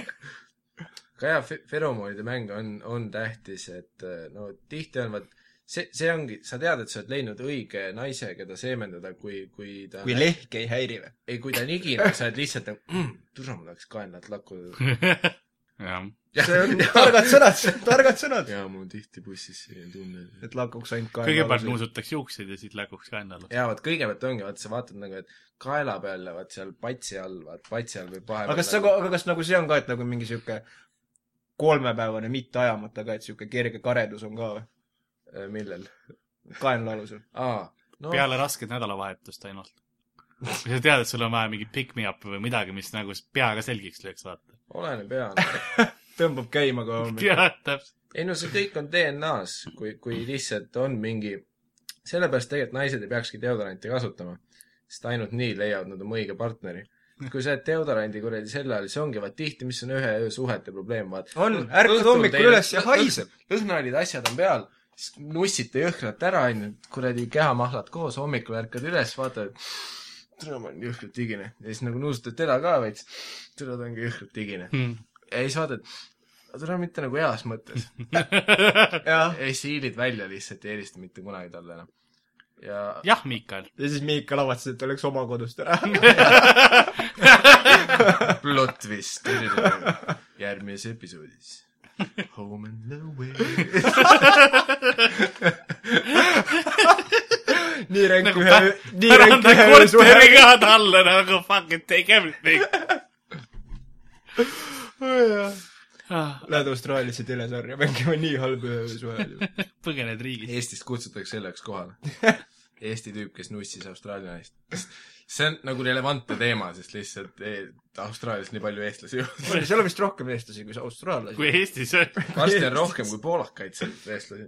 S4: ka jah , feromoonide mäng on , on tähtis , et äh, no tihti on vaat see , see ongi , sa tead , et sa oled leidnud õige naise , keda seemendada , kui , kui ta
S2: kui lehk ei häiri või ?
S4: ei , kui ta on higine , sa oled lihtsalt nagu mm, , tule ma tahaks kaenlat lakkuda .
S3: jah ,
S2: see on targad sõnad , targad sõnad .
S4: jaa , mul on tihti bussis selline tunne .
S2: et lakuks ainult kaela .
S3: kõigepealt . nuusutaks juukseid ja siis läguks kannale .
S4: jaa , vaat kõigepealt ongi , vaat sa vaatad nagu , et kaela peal ja vaat seal patsi all , vaat patsi all võib vahepeal
S2: aga kas nagu , aga kas nagu see on ka , et nagu mingi sihuke kolmepäevane mitte ajamata ka , et sihuke kerge karedus on ka või ?
S4: Äh, millel ?
S2: kaenla alusel .
S4: aa , no
S3: peale rasket nädalavahetust ainult . kui sa tead , et sul on vaja mingit pick-me-up'i või midagi , mis nagu peaga selgeks lööks , vaata .
S4: oleneb jaa .
S2: tõmbab käima ka hommikul .
S3: jah , täpselt .
S4: ei no see kõik on DNA-s , kui , kui lihtsalt on mingi , sellepärast tegelikult naised ei peakski deodoranti kasutama , sest ainult nii leiavad nad oma õige partneri . kui sa oled deodorandi kuradi selle all , see ongi vaat tihti , mis on ühe öö suhete probleem , vaat .
S2: on , ärkad hommikul üles ja haiseb ..
S4: õhnaolid , asjad on peal , siis nussite jõhkralt ära , onju , kuradi kehamahlad koos , hommikul ärkad üles , vaatad , tule ma olen jõhkralt higine ja siis nagu nuusutad teda ka veits , tule ta ongi jõhkralt higine ja siis vaatad , tule mitte nagu heas mõttes
S2: jah ,
S4: ja siis hiilid välja lihtsalt ja ei helista mitte kunagi talle enam . ja
S3: jah , Miikal .
S2: ja siis Miika lavatses , et oleks oma kodust ära .
S4: plot twist järgmises episoodis . Home and away .
S2: nii ränk
S3: Nagu
S2: ühe
S3: pä- ,
S2: nii ränk
S3: anda
S2: ühe öö
S3: korteri
S2: suhe .
S3: ka talle nagu fuck it , take everything .
S2: Lähed Austraaliasse telesarja mängima nii halb ühe öö suhe oli .
S3: põgened riigist .
S4: Eestist kutsutakse selleks kohale . Eesti tüüp , kes nussis Austraalia naist . see on nagu relevantne teema , sest lihtsalt eh, Austraalias nii palju eestlasi ei ole .
S2: seal on vist rohkem eestlasi kui austraallasi .
S3: kui Eestis on .
S4: varsti on rohkem kui poolakaid seal eestlasi .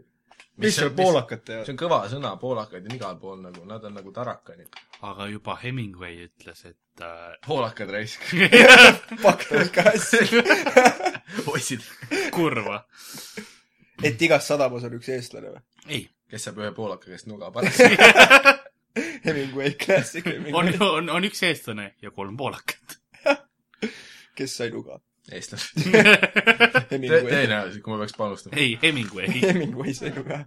S2: mis seal poolakate
S4: see
S2: jaoks ?
S4: on kõva sõna , poolakaid on igal pool nagu , nad on nagu tarakanid .
S3: aga juba Hemingway ütles , et äh,
S4: poolakad raisk .
S2: pakkus ka asja .
S4: poisid .
S3: kurva .
S2: et igas sadamas on üks eestlane või ?
S3: ei ,
S4: kes saab ühe poolaka käest nuga paremaks .
S2: Hemingway Classic ,
S3: on , on , on üks eestlane ja kolm poolakat .
S2: kes sai nuga ?
S4: eestlased . nagu
S2: Hemingway .
S4: tõenäoliselt , kui ma peaks panustama .
S3: ei , Hemingway .
S2: Hemingway sai nuga .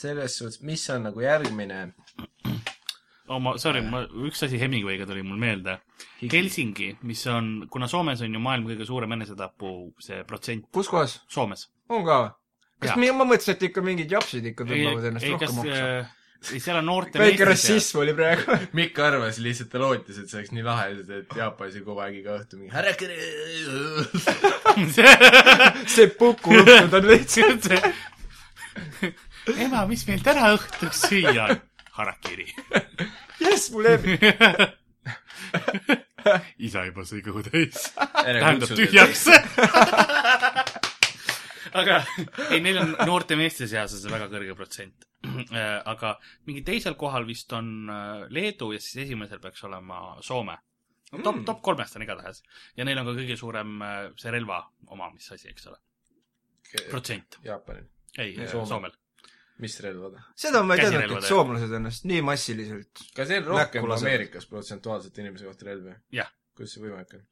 S4: selles suhtes , mis on nagu järgmine
S3: oma , sorry , ma , üks asi Hemingway'ga tuli mul meelde . Helsingi , mis on , kuna Soomes on ju maailma kõige suurem enesetapu see protsent ,
S2: kus kohas ?
S3: Soomes .
S2: on ka või ? kas
S3: Jaa.
S2: mi- , ma mõtlesin , et ikka mingid japsid ikka tõmbavad ennast
S3: ei , kas äh,
S2: rohkem , oksa .
S3: ei seal on noorte
S2: väike rassism oli praegu .
S4: Mikk arvas lihtsalt , ta lootis , et see oleks nii lahe , et Jaapanis oli kogu aeg iga õhtu mingi härrakene .
S2: see puku õhtud on veits .
S3: ema , mis meil täna õhtuks süüa on ? harakiri .
S2: jess , mul jääb .
S3: isa juba sõi kõhu täis . tähendab
S4: tähendab
S3: tühjaks . aga ei , neil on noorte meeste seas on see väga kõrge protsent . aga mingi teisel kohal vist on äh, Leedu ja siis esimesel peaks olema Soome . no top , top kolmest on igatahes ja neil on ka kõige suurem äh, see relva omamise asi , eks ole , protsent ,
S4: Jaapanil .
S3: ei
S4: Ja
S3: Soome.
S4: Soomel.
S3: Soomel .
S4: mis relvad ?
S2: seda ma ei teadnudki , et
S3: Käsirelvad, jah.
S2: soomlased ennast nii massiliselt .
S4: kas neil
S2: Näkku
S4: rohkem kui
S2: lasevad.
S4: Ameerikas protsentuaalselt inimese kohta relvi ?
S3: Jah.
S4: kuidas see võimalik on ?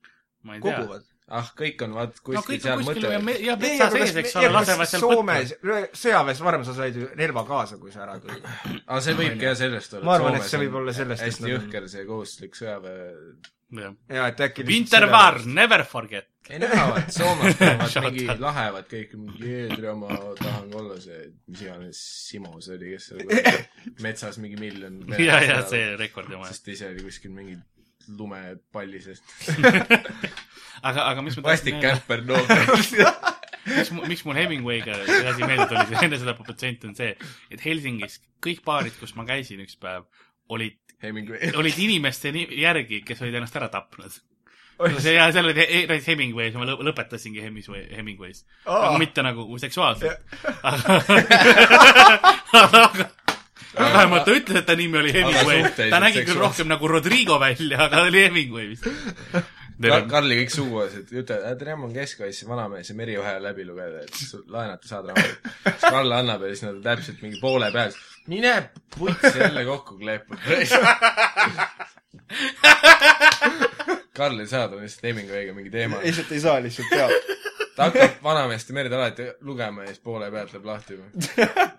S3: ma ei tea .
S2: koguvad .
S4: ah , kõik on vaat
S3: no
S4: kuskil
S3: kõik
S4: seal
S3: on kuskil ja
S4: mõtlevad .
S3: me- ja metsa sees , eks ole , lasevad seal
S2: Soomes , sõjaväes varem sa said ju relva kaasa , kui sa ära kõigid .
S4: aga Ah, see võibki jah sellest olla .
S2: Ma arvan, et see võib olla sellest, et
S4: hästi
S2: nad on-
S4: jõhker see kohustuslik sõjaväe .
S3: põtta .
S2: jaa , et äkki
S3: Wintervar ,. never forget .
S4: ei no vaat , soomlased
S3: Shut
S4: teevad mingi
S3: up.
S4: lahevad kõik , mingi eetri oma , tahan olla see , mis iganes Simo see oli , kes seal kuradi metsas mingi miljon .
S3: ja , ja see rekordi oma .
S4: sest ta ise oli kuskil mingi lumepalli sees .
S3: aga , aga mis ma
S4: plastikkäpper noob .
S3: miks , miks mul Hemingway'ga see asi meelde tuli , enne seda protsent on see , et Helsingis kõik baarid , kus ma käisin üks päev , olid ,
S4: Hemingway .
S3: olid inimeste ni- järgi , kes olid ennast ära tapnud . see ja seal oli he- näiteks Hemingway , siis ma lõ- lõpetasingi Hemingway , Hemingway's . aga mitte nagu seksuaalselt . vähemalt ta ütles , et ta nimi oli Hemingway .
S4: suhteliselt
S3: ta nägi küll
S4: seksuaalselt.
S3: rohkem nagu Rodrigo välja , aga oli Hemingway vist .
S4: Karli kõik suguasjad , ütle , Rem on keskkaitse vanamees ja Meri vaja läbi lugeda , et sul laenata saad raamatut . siis Karl annab ja siis nad on täpselt mingi poole peal , mine putsi jälle kokku kleepud . Karl ei saa , tal on lihtsalt Hemingway'ga mingi teema .
S2: lihtsalt ei saa , lihtsalt peab .
S4: ta hakkab vanameest ja Merid alati lugema ja siis poole pealt läheb lahti .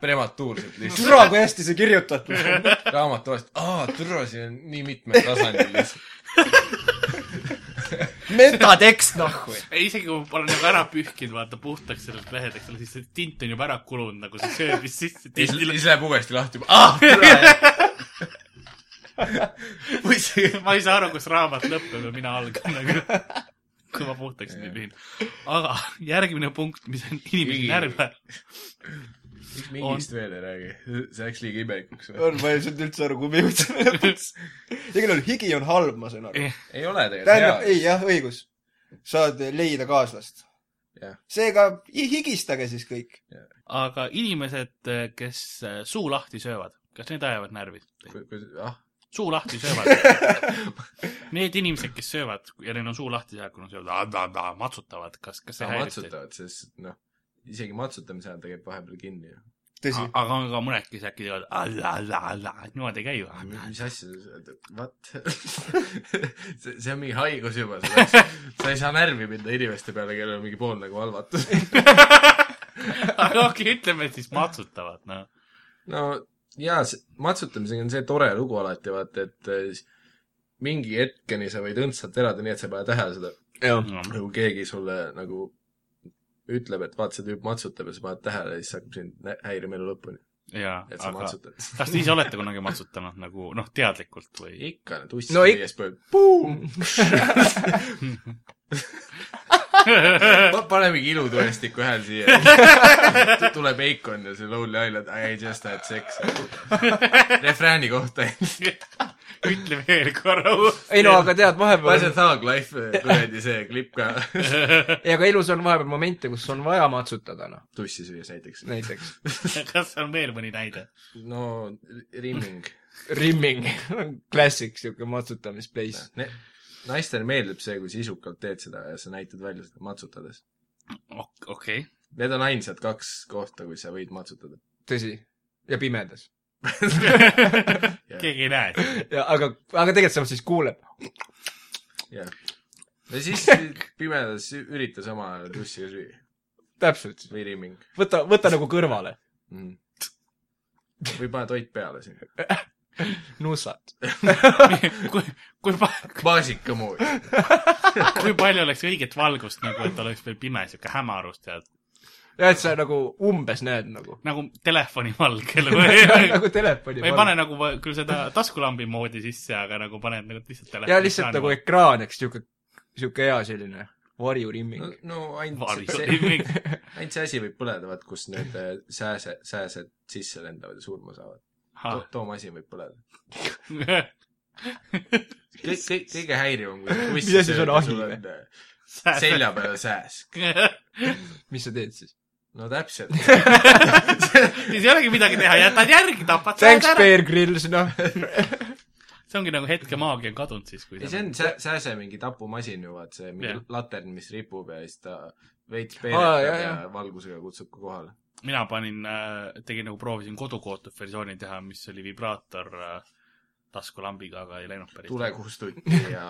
S4: prematuurselt lihtsalt .
S2: türa , kui hästi see kirjutatud on .
S4: raamat vahest , aa , türa , siin on nii mitmel tasandil lihtsalt .
S2: metatekst , noh, nahhu .
S3: ei , isegi kui ma olen nagu ära pühkinud , vaata puhtaks sellelt lehelt , eks ole , siis see tint on juba ära kulunud nagu see sööb vist sisse
S4: ja siis ,
S3: tindile .
S4: siis läheb uuesti lahti , ah , türa . või see
S3: ma ei saa aru , kus raamat lõpeb ja mina algan nagu , kui ma puhtaks pühin . aga järgmine punkt , mis on inimesi
S4: Nii.
S3: närve ,
S4: mingist veel ei räägi , see läks liiga imelikuks või ?
S2: on , ma ei saanud üldse aru , kuhu me jõudsime lõpuks . igal juhul higi on halb , ma sain aru .
S4: ei ole tegelikult
S2: tähendab ,
S4: hea .
S2: ei jah , õigus . saad leida kaaslast
S4: Jah. .
S2: seega hi- higistage siis kõik .
S3: aga inimesed , kes eh, suu lahti söövad , kas need ajavad närvi ?
S4: ah ,
S3: suu lahti söövad . Need inimesed , kes söövad ja neil on suu lahti seal , kui nad söövad , matsutavad , kas , kas see
S4: sa
S3: häirib teid ?
S4: matsutavad , sest noh , isegi matsutamise ajal ta käib vahepeal kinni ju .
S2: tõsi .
S3: A- aga on ka mõned , kes äkki teevad alla-alla-alla , niimoodi ei käi ju .
S4: mis asja sa saad , what ? see , see on mingi haigus juba , sa läks- sa ei saa närvi minna inimeste peale , kellel on mingi pool nagu halvatud .
S3: aga okei , ütleme et siis matsutavad , noh .
S4: no jaa , matsutamisega on see tore lugu alati , vaata , et eh, s- mingi hetkeni sa võid õndsalt elada , nii et sa ei pane tähele seda . nagu keegi sulle nagu ütleb , et vaat see tüüp matsutab ja sa paned tähele ja siis hakkab sind nä- häirima elu lõpuni ,
S3: jaa ,
S4: et sa
S3: aga
S4: matsutad .
S3: kas te ise olete kunagi matsutanud nagu noh , teadlikult või ?
S4: ikka , need ussid
S2: No
S4: no,
S2: ik-
S4: viies põlv , buum Pa- pane mingi ilutulestiku hääl siia . tuleb Eikon ja see Lonely Island , I just had sex . refrääni kohta ei .
S3: ütle veel korra uuesti .
S2: ei no aga tead , vahepeal
S4: lase , Thug Life kuradi see klipp ka
S2: ei aga elus on vahepeal momente , kus on vaja matsutada , noh ,
S4: tussi süües näiteks .
S2: näiteks
S3: kas on veel mõni näide ?
S4: no rimming .
S2: rimming on classic siuke matsutamisplace .
S4: naistele meeldib see , kui sa isukalt teed seda ja sa näitad välja seda matsutades .
S3: okei .
S4: Need on ainsad kaks kohta , kus sa võid matsutada .
S2: tõsi . ja pimedas .
S3: keegi ei näe .
S2: aga , aga tegelikult sa siis kuuled .
S4: jah . ja siis pimedas ürita sama tussi süüa
S2: täpselt .
S4: või rimming
S2: võta , võta nagu kõrvale .
S4: mm. . või pane toit peale siin .
S2: nussad .
S3: kui , kui pa- ,
S4: maasikamoodi .
S3: kui palju oleks õiget valgust nagu , et oleks veel pime , siuke hämarus , tead .
S2: jah , et sa nagu umbes näed nagu .
S3: nagu telefoni valg , kelle
S2: nagu telefoni
S3: ma ei pane . nagu va- küll seda taskulambi moodi sisse , aga nagu paned nagu lihtsalt telefoni .
S2: ja lihtsalt nagu ekraan , eks , siuke , siuke hea selline varjurimming
S4: no, . no ainult see ,
S3: varjutiming .
S4: ainult see asi võib põleda , vaat kus need äh, sääse , sääsed sisse lendavad ja surma saavad to, .
S2: Ah.
S4: toomasin võib põleda . kõik , kõik , kõige häirivam , kui sa
S2: Mis asi
S4: tussi
S2: see
S4: sööd
S2: on,
S4: ja
S2: ahi
S4: sul
S2: või?
S4: on äh, selja peal sääs .
S2: mis sa teed siis ?
S4: no täpselt .
S3: siis ei olegi midagi teha , jätad järgi , tapad
S2: Thanks ,
S3: sääse ära .
S2: Bear Grylls , noh .
S3: see ongi nagu hetkemaagia on kadunud siis , kui
S4: ei , see on sä- , sääse mingi tapumasin ju , vaat see mingi
S3: Jah.
S4: latern , mis ripub ja siis ta veits
S2: Aa,
S4: peeretab
S2: jah,
S4: ja,
S2: jah.
S4: ja valgusega kutsub ka kohale .
S3: mina panin , tegin nagu proovisin kodukootud versiooni teha , mis oli vibraator äh, taskulambiga , aga ei läinud päris .
S4: tulekustuti ja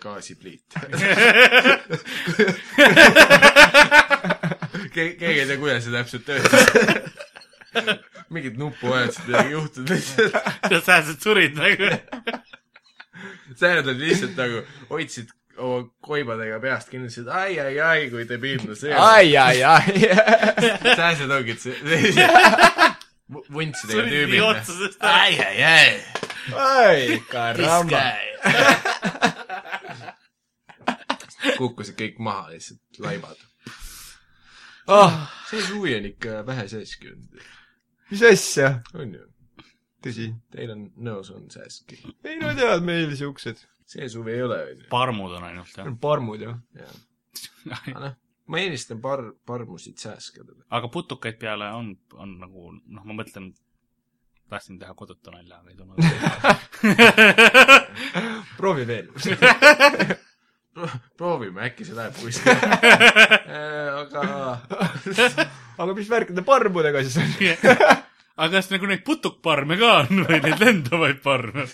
S4: gaasipliit . Ke- , keegi ei tea , kuidas see täpselt töötas . mingid nupuvajadused midagi juhtunud lihtsalt .
S3: sääsed surid nagu .
S4: säärad olid lihtsalt nagu , hoidsid oma koibadega peast kinni , ütlesid ai , ai , ai , kui debiilne see on .
S2: ai , ai , ai .
S4: sääsed ongi see , vuntsidega
S3: surid nii
S4: tüübid . noh.
S3: otsusest ära .
S4: ai , ai , ai .
S2: ai , karamba .
S4: kukkusid kõik maha lihtsalt , laibad .
S2: ah ,
S4: see suvi on ikka vähe sääski olnud ,
S2: mis asja ,
S4: on ju ?
S2: tõsi .
S4: Teil on nõus , on sääski .
S2: ei no tead , meil siuksed ,
S4: see suvi ei ole , on ju .
S5: parmud on ainult , jah .
S2: parmud ju .
S4: aga noh , ma eelistan par- , parmusid sääskedele .
S5: aga putukaid peale on , on nagu , noh , ma mõtlen , tahtsin teha kodutu nalja , aga ei tulnud .
S2: proovi veel .
S4: proovime , äkki see läheb kuskile . aga
S2: aga mis värk nende parmudega siis on ?
S3: aga kas nagu neid putukparme ka on või neid lendavaid parme ,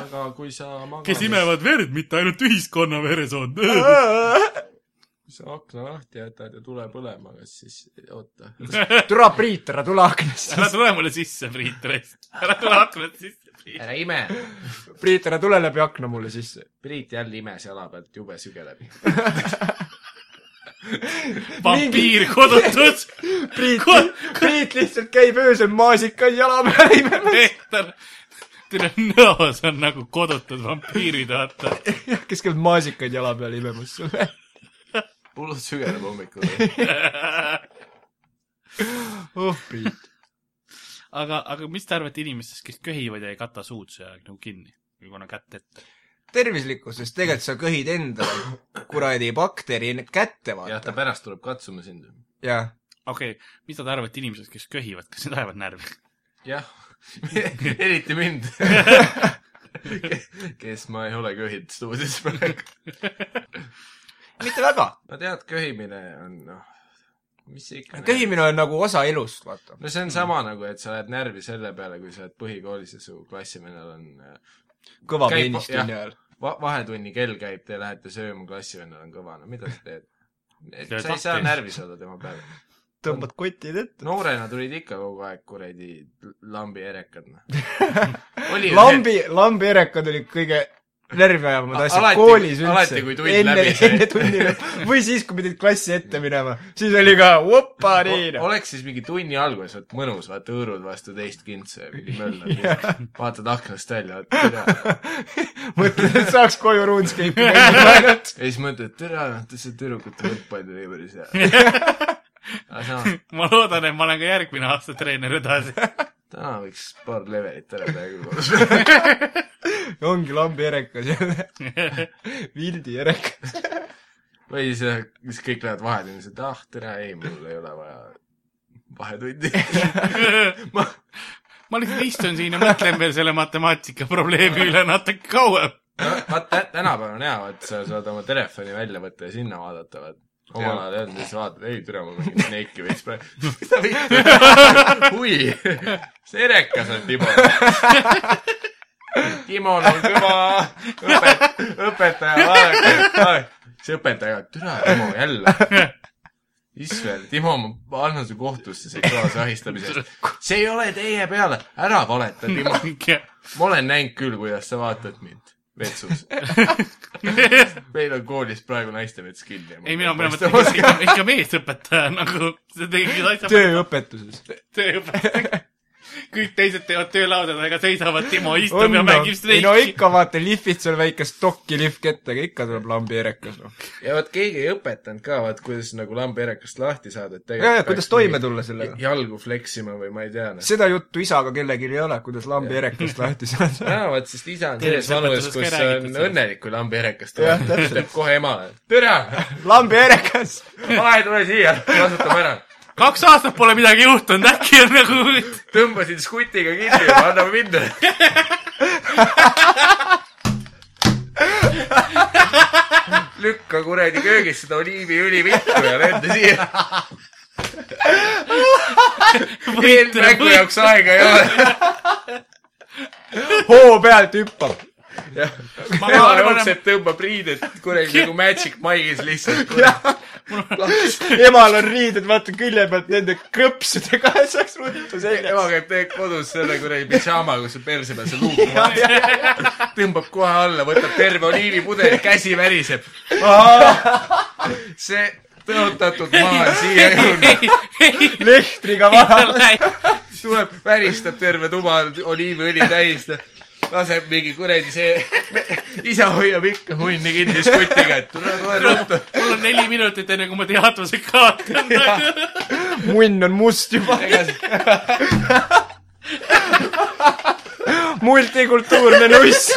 S4: aga kui sa
S3: kes
S4: magad ,
S3: imevad verd , mitte ainult ühiskonna veresoont ?
S4: kui sa akna lahti jätad ja tule põlema , kas siis , oota .
S2: türa Priit , ära tule aknast .
S3: ära tule mulle sisse , Priit Reis . ära tule aknast sisse , Priit .
S4: ära ime .
S2: Priit , ära tule läbi akna mulle sisse .
S4: Priit jälle imes jala pealt jube sügeleb .
S3: vampiir kodutus ,
S2: Priit , Priit lihtsalt käib öösel maasikas jala peal imemas ,
S3: Peeter . teil on nõos on nagu kodutud vampiirid , vaata .
S2: kes käib maasikaid jala peal imemas sulle .
S4: hullult sügeleb hommikul .
S2: oh Priit .
S3: aga , aga mis te arvate inimestest , kes köhivad ja ei kata suud see aeg nagu kinni ? või kuna kätt ette .
S2: tervislikkus , sest tegelikult sa köhid endale kuradi bakteri kätte ,
S4: jah , ta
S2: vaata .
S4: pärast tuleb katsuma sind .
S2: jah ,
S3: okei okay, , mida te arvate inimesest , kes köhivad , kas need ajavad närvi ?
S4: jah , eriti mind , kes ma ei ole köhinud stuudios praegu .
S2: mitte väga .
S4: no tead , köhimine on noh , mis see ikka .
S2: köhimine on nagu osa elust , vaata .
S4: no see on sama nagu , et sa lähed närvi selle peale , kui sa oled põhikoolis ja su klassivennal on äh,
S2: kõva
S4: Käib-
S2: peenistunni
S4: jah.
S2: ajal .
S4: va- , vahetunni kell käib , te lähete sööma , klassivennal on kõva , no mida sa teed ?
S3: Lööd
S4: sa ei saa
S3: lahti.
S4: närvis olla tema peale .
S2: tõmbad kotid ette .
S4: noorena tulid ikka kogu aeg kuradi lambi erekad , noh .
S2: lambi , lambierekad olid kõige närvi ajavamad
S4: A-
S2: asjad
S4: alati-
S2: koolis üldse .
S4: alati, kui tund läbi sai.
S2: enne tundi läbi. või siis , kui pidid klassi ette minema , siis oli ka opa nii . noh."
S4: oleks siis mingi tunni alguses , vot mõnus , vaata hõõrud vastu teist kintsu ja mingi möllad , vaatad aknast välja , vaata tere .
S2: mõtlen , et saaks koju RuneScape'i mängida ainult .
S4: ja siis mõtled , tere , see tüdrukute võrkpall oli päris hea . aga samas ,
S3: ma loodan , et ma olen ka järgmine aasta treener edasi .
S4: täna võiks paar levelit ära teha küll koos .
S2: ongi lambierekas jälle . vildierekas .
S4: või siis jah, siis kõik lähevad vahetundi , siis , et ah , tere , ei , mul ei ole vaja vahetundi . ma ,
S3: ma lihtsalt istun siin ja mõtlen veel selle matemaatika probleemi üle natuke kauem .
S4: vaat tä- tänapäeval on hea , et sa saad oma telefoni välja võtta ja sinna vaadata , vaat . omal ajal ei olnud , siis vaatad , ei türa , ma mängin Snake'i veits praegu . mida vittu ? hui , see erekas on Timo . Timon on kõva õpet- , õpetaja , vaadake . see õpetaja , türa , Timo jälle . Isvel , Timo , ma annan su kohtusse seksuaalse ahistamise eest . see ei ole teie peale , ära valeta , Timo . ma olen näinud küll , kuidas sa vaatad mind vetsus . meil on koolis praegu naiste vets kinni .
S3: ei , mina , mina mõtlen ikka, ikka meesõpetaja nagu , see tegi asja
S2: tööõpetuses .
S3: tööõpetaja . kõik teised teevad töölaudadega , seisavad , Timo istub
S2: on
S3: on, ja
S2: noh
S3: mängib ,
S2: ei no
S3: streiki .
S2: ikka vaata , lihvid seal väikest dokki lihvkette , aga ikka tuleb lambierekas noh .
S4: ja vot keegi ei õpetanud ka , vaat kuidas nagu lambiärekast lahti saada , et
S2: jaa , jaa , kuidas
S4: peaks
S2: toime
S4: mingi
S2: tulla sellega .
S4: jalgu fleksima või ma ei tea . noh.
S2: seda juttu isaga kellelgi ei ole , kuidas lambierekast lahti saada .
S4: jaa , vot sest isa on
S3: Terves
S4: selles vanuses ,
S3: õpetuses ka
S4: kus
S3: räägitud
S4: on
S3: sellest.
S4: õnnelik , kui lambiärekas
S2: Jah,
S4: tuleb .
S2: täpselt.
S4: ütleb kohe emale , tere ,
S2: lambierekas .
S4: ma ei tule siia , kasutame ära .
S3: kaks aastat pole midagi juhtunud , äkki on nagu ,
S4: tõmbasin skutiga kinni , anname minna . lükka kuradi köögist seda oliiviõli vittu ja lenda siia . eelmängu jaoks aega ei ole .
S2: hoo pealt hüppab .
S3: ma
S4: ema
S3: arvan , et
S4: jookseb , tõmbab riided kuradi nagu Magic Mike'is lihtsalt .
S2: emal on riided , vaata külje pealt nende krõpsudega saaks ruttu
S4: ema
S2: selga .
S4: käib tegelikult kodus selle kuradi pidžaama , kus on perse peal see luuk vaata . tõmbab kohe alla , võtab terve oliivipudeli , käsi väriseb . see tõotatud maa on siia jõudnud ,
S2: lehtriga vaja .
S4: tuleb , väristab terve tuba oliiviõli täis . laseb mingi kuradi see , isa hoiab ikka hunni kinni skutiga , et tule , tule ruttu .
S6: mul on neli minutit , enne kui ma teadvuse kaotan .
S2: munn on must juba .
S4: ega see ,
S2: multikultuurne nuss .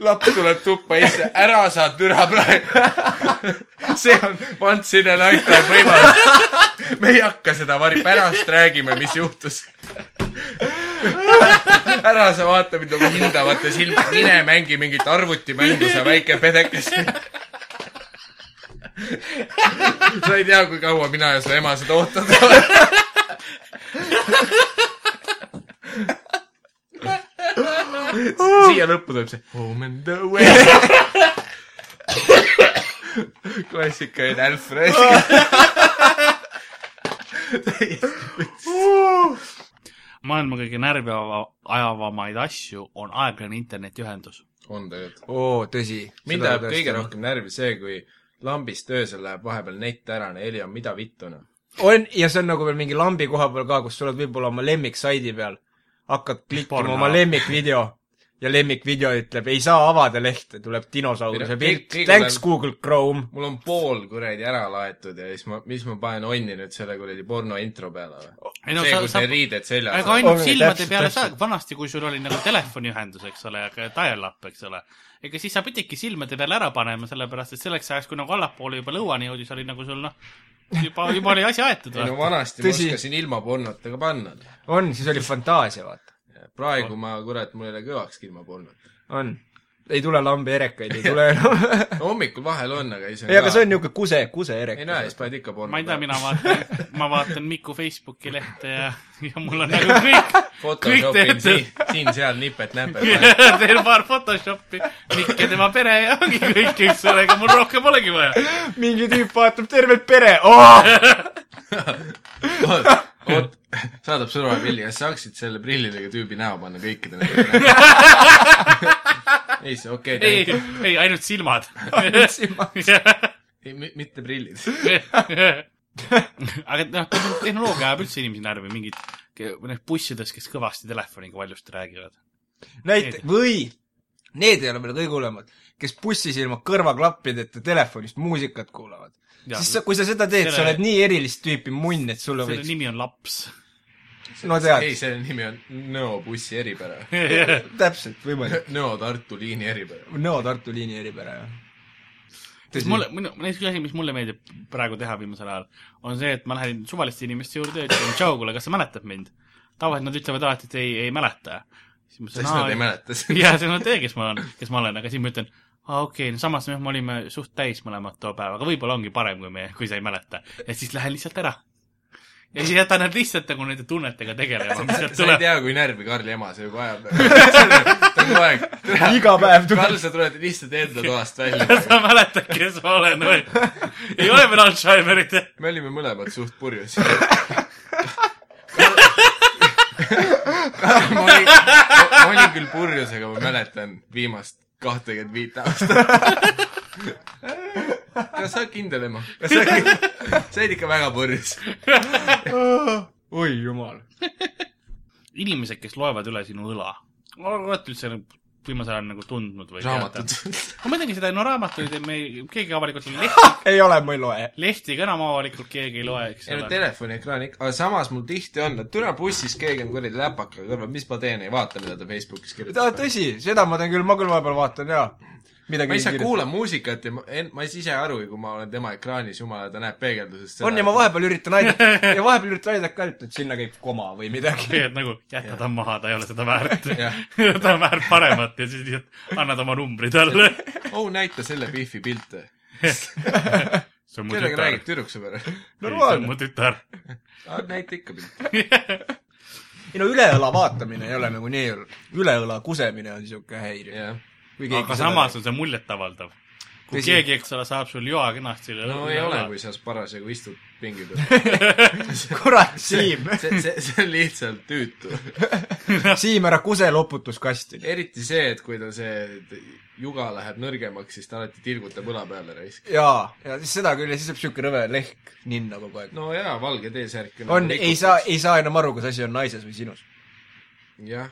S4: laps tuleb tuppa , ise , ära sa türa praegu . see on once in a lifetime võimalus . me ei hakka seda vari- , pärast räägime , mis juhtus . ära sa vaata mind oma hindavate silmadega , mine mängi mingit arvutimängu , sa väike pedekas . sa ei tea , kui kaua mina ja su ema seda ootanud oleme . siia lõppu tuleb see Home and away . klassikaline Alfred .
S3: maailma kõige närvi ava- ajavamaid asju on aeglane internetiühendus .
S4: on tegelikult .
S2: oo , tõsi .
S4: mind ajab kõige . rohkem närvi see , kui lambist öösel läheb vahepeal nett ära , heli on mida noh. vittuna .
S2: on , ja see on nagu veel mingi lambi koha peal ka , kus sa oled võib-olla oma lemmiksaidi peal , hakkad klikkima
S3: Porno.
S2: oma lemmikvideo ja lemmikvideo ütleb , ei saa avada lehte , tuleb dinosauruse
S4: Tere-
S2: pilt
S4: kõik- ,
S2: thanks
S4: kõigepealt-
S2: Google Chrome .
S4: mul on pool kuradi ära laetud ja siis ma , mis ma panen onni nüüd selle kuradi porno intro peale või ?
S3: ei no
S4: see ,
S3: sa ,
S4: kus
S3: sa
S4: need , riided seljas
S3: aga
S4: on .
S3: ainult
S2: Oi,
S3: silmade
S2: täpselt,
S3: peale saad ,
S2: täpselt.
S3: vanasti kui sul oli nagu telefoniühendus , eks ole , aga dial-up , eks ole . ega siis sa pididki silmade peale ära panema , sellepärast et selleks ajaks , kui nagu allapoole juba lõuani jõudis , oli nagu sul noh , juba , juba oli asi aetud
S4: ei no
S3: või ?
S4: vanasti ma
S2: Tõsi.
S4: oskasin ilma pornota ka panna .
S2: on , siis oli fantaasia , vaata .
S4: praegu ma , kurat , mul ei ole kõvakski ilma pornota .
S2: on . ei tule lambi erekaid , ei tule enam .
S4: hommikul vahel on , aga siis on
S2: ei , aga see on niisugune kuse , kuse erek .
S4: ei no ja siis paned ikka porno
S3: ma ei tea , mina vaatan , ma vaatan Miku Facebooki lehte ja , ja mul on nagu kõik , kõik
S4: Photoshopin siin
S3: tehtud .,
S4: siin-seal nipet-näpet .
S3: teen paar Photoshopi , Mikk ja tema pere ja ongi kõik , eks ole , ega mul rohkem olegi vaja .
S2: mingi tüüp vaatab tervet pere oh! .
S4: oot , saadab surmapilli , kas saaksid selle prillidega tüübi näo panna kõikide nende ei , see okei
S3: ei
S4: okay, ,
S3: ei , ainult silmad .
S4: ei , mitte prillid .
S3: aga noh , tehnoloogia ajab üldse inimesi närvi , mingid ke- või noh , bussides , kes kõvasti telefoniga valjusti räägivad .
S2: näite- , või need ei ole veel kõige hullemad , kes bussis ilma kõrvaklappideta telefonist muusikat kuulavad .
S3: Jaa.
S2: siis sa , kui sa seda teed , sa
S3: Selle-
S2: oled nii erilist tüüpi munn , et sulle
S3: selle
S2: võiks ,
S3: nimi on laps .
S2: no tead
S4: ei ,, selle nimi on Nõo bussi eripära .
S2: täpselt , võimalik .
S4: Nõo Tartu liini eripära .
S2: Nõo Tartu liini eripära , jah .
S3: siis mulle , minu , üks asi , mis mulle meeldib praegu teha viimasel ajal , on see , et ma lähen suvaliste inimeste juurde ja ütlen , tšau , kuule , kas sa mäletad mind ? tavaliselt nad ütlevad alati , et ei , ei mäleta . siis ma
S4: siis nad ei
S3: ütlen ,
S4: mäleta seda .
S3: jaa , see on teie , kes ma olen , kes ma olen , aga siis ma ütlen , aa okei okay, , no samas jah, me olime suht täis mõlemad too päev , aga võib-olla ongi parem , kui me , kui sa ei mäleta . ja siis lähen lihtsalt ära . ja siis jätan nad lihtsalt nagu nende tunnetega tegelema , mis sealt
S4: sa ei
S3: tuleb .
S4: tea , kui närvi Karli ema see juba ajab . ta on kogu aeg ,
S2: iga päev
S4: Karl ,
S2: tuleb .
S4: sa tuled lihtsalt enda toast välja
S3: kas . sa mäletad , kes ma olen või ? ei ole veel Alžeimerit .
S4: me olime mõlemad suht purjus . ma olin , ma olin küll purjus , aga ma mäletan viimast kahtekümmet viit aastat . kas sa oled kindel , ema ? kas sa oled kindel ? sa olid ikka väga purjus .
S2: oi jumal .
S3: inimesed , kes loevad üle sinu õla , olete üldse nagu viimasel ajal nagu tundnud või ?
S4: raamatud ..
S3: ma muidugi seda , no raamatuid me , keegi avalikult ei lehti ,
S2: ei ole , ma ei loe .
S3: lehti ka enam avalikult keegi ei loe , eks
S4: ei no
S3: ole .
S4: telefoniekraan ikka , aga samas mul tihti on , et türa bussis keegi on kuradi läpakaga kõrval , mis ma teen , ei vaata , mida ta Facebookis
S2: ta ,
S4: kirjutab .
S2: tõsi , seda ma teen küll , ma küll vahepeal vaatan ja midagi
S4: ma ise . kuulan muusikat ja ma , ma ei saa ise aru , kui ma olen tema ekraanis , jumala , ta näeb peegeldusest
S2: on ja ma vahepeal üritan aidata ja vahepeal üritan aidata ka , et sinna käib koma või midagi .
S3: et nagu jäta ta maha , ta ei ole seda väärt
S4: Jah. .
S3: ta on väärt paremat ja siis lihtsalt annad oma numbri talle .
S4: oh , näita selle Biffi pilte .
S3: see on mu
S4: kellega
S3: tütar
S4: räägid , tüdruksõber ?
S3: see on
S2: normaalne .
S3: mu tütar .
S4: Ah, näita ikka pilte .
S2: ei no üle õla vaatamine ei ole nagu nii hull , üle õla kusemine on niisugune häiriv .
S4: jah .
S3: aga samas on see muljetavaldav . kui
S2: Tõsi.
S3: keegi , eks ole , saab sul joa kenasti üle
S4: no
S3: üle
S4: ei ole
S3: õla. ,
S4: kui sa parasjagu istud pingi peal .
S2: kurat , Siim ,
S4: see , see , see on lihtsalt tüütu .
S2: Siim , ära kuse loputuskasti .
S4: eriti see , et kui ta see juga läheb nõrgemaks , siis ta alati tilgutab õla peale raisk .
S2: jaa , ja siis seda küll ja siis jääb siuke rõve lehk ninna kogu aeg .
S4: no jaa , valge T-särk . nagu
S2: on , ei saa , ei saa enam aru , kas asi on naises või sinus .
S4: jah ,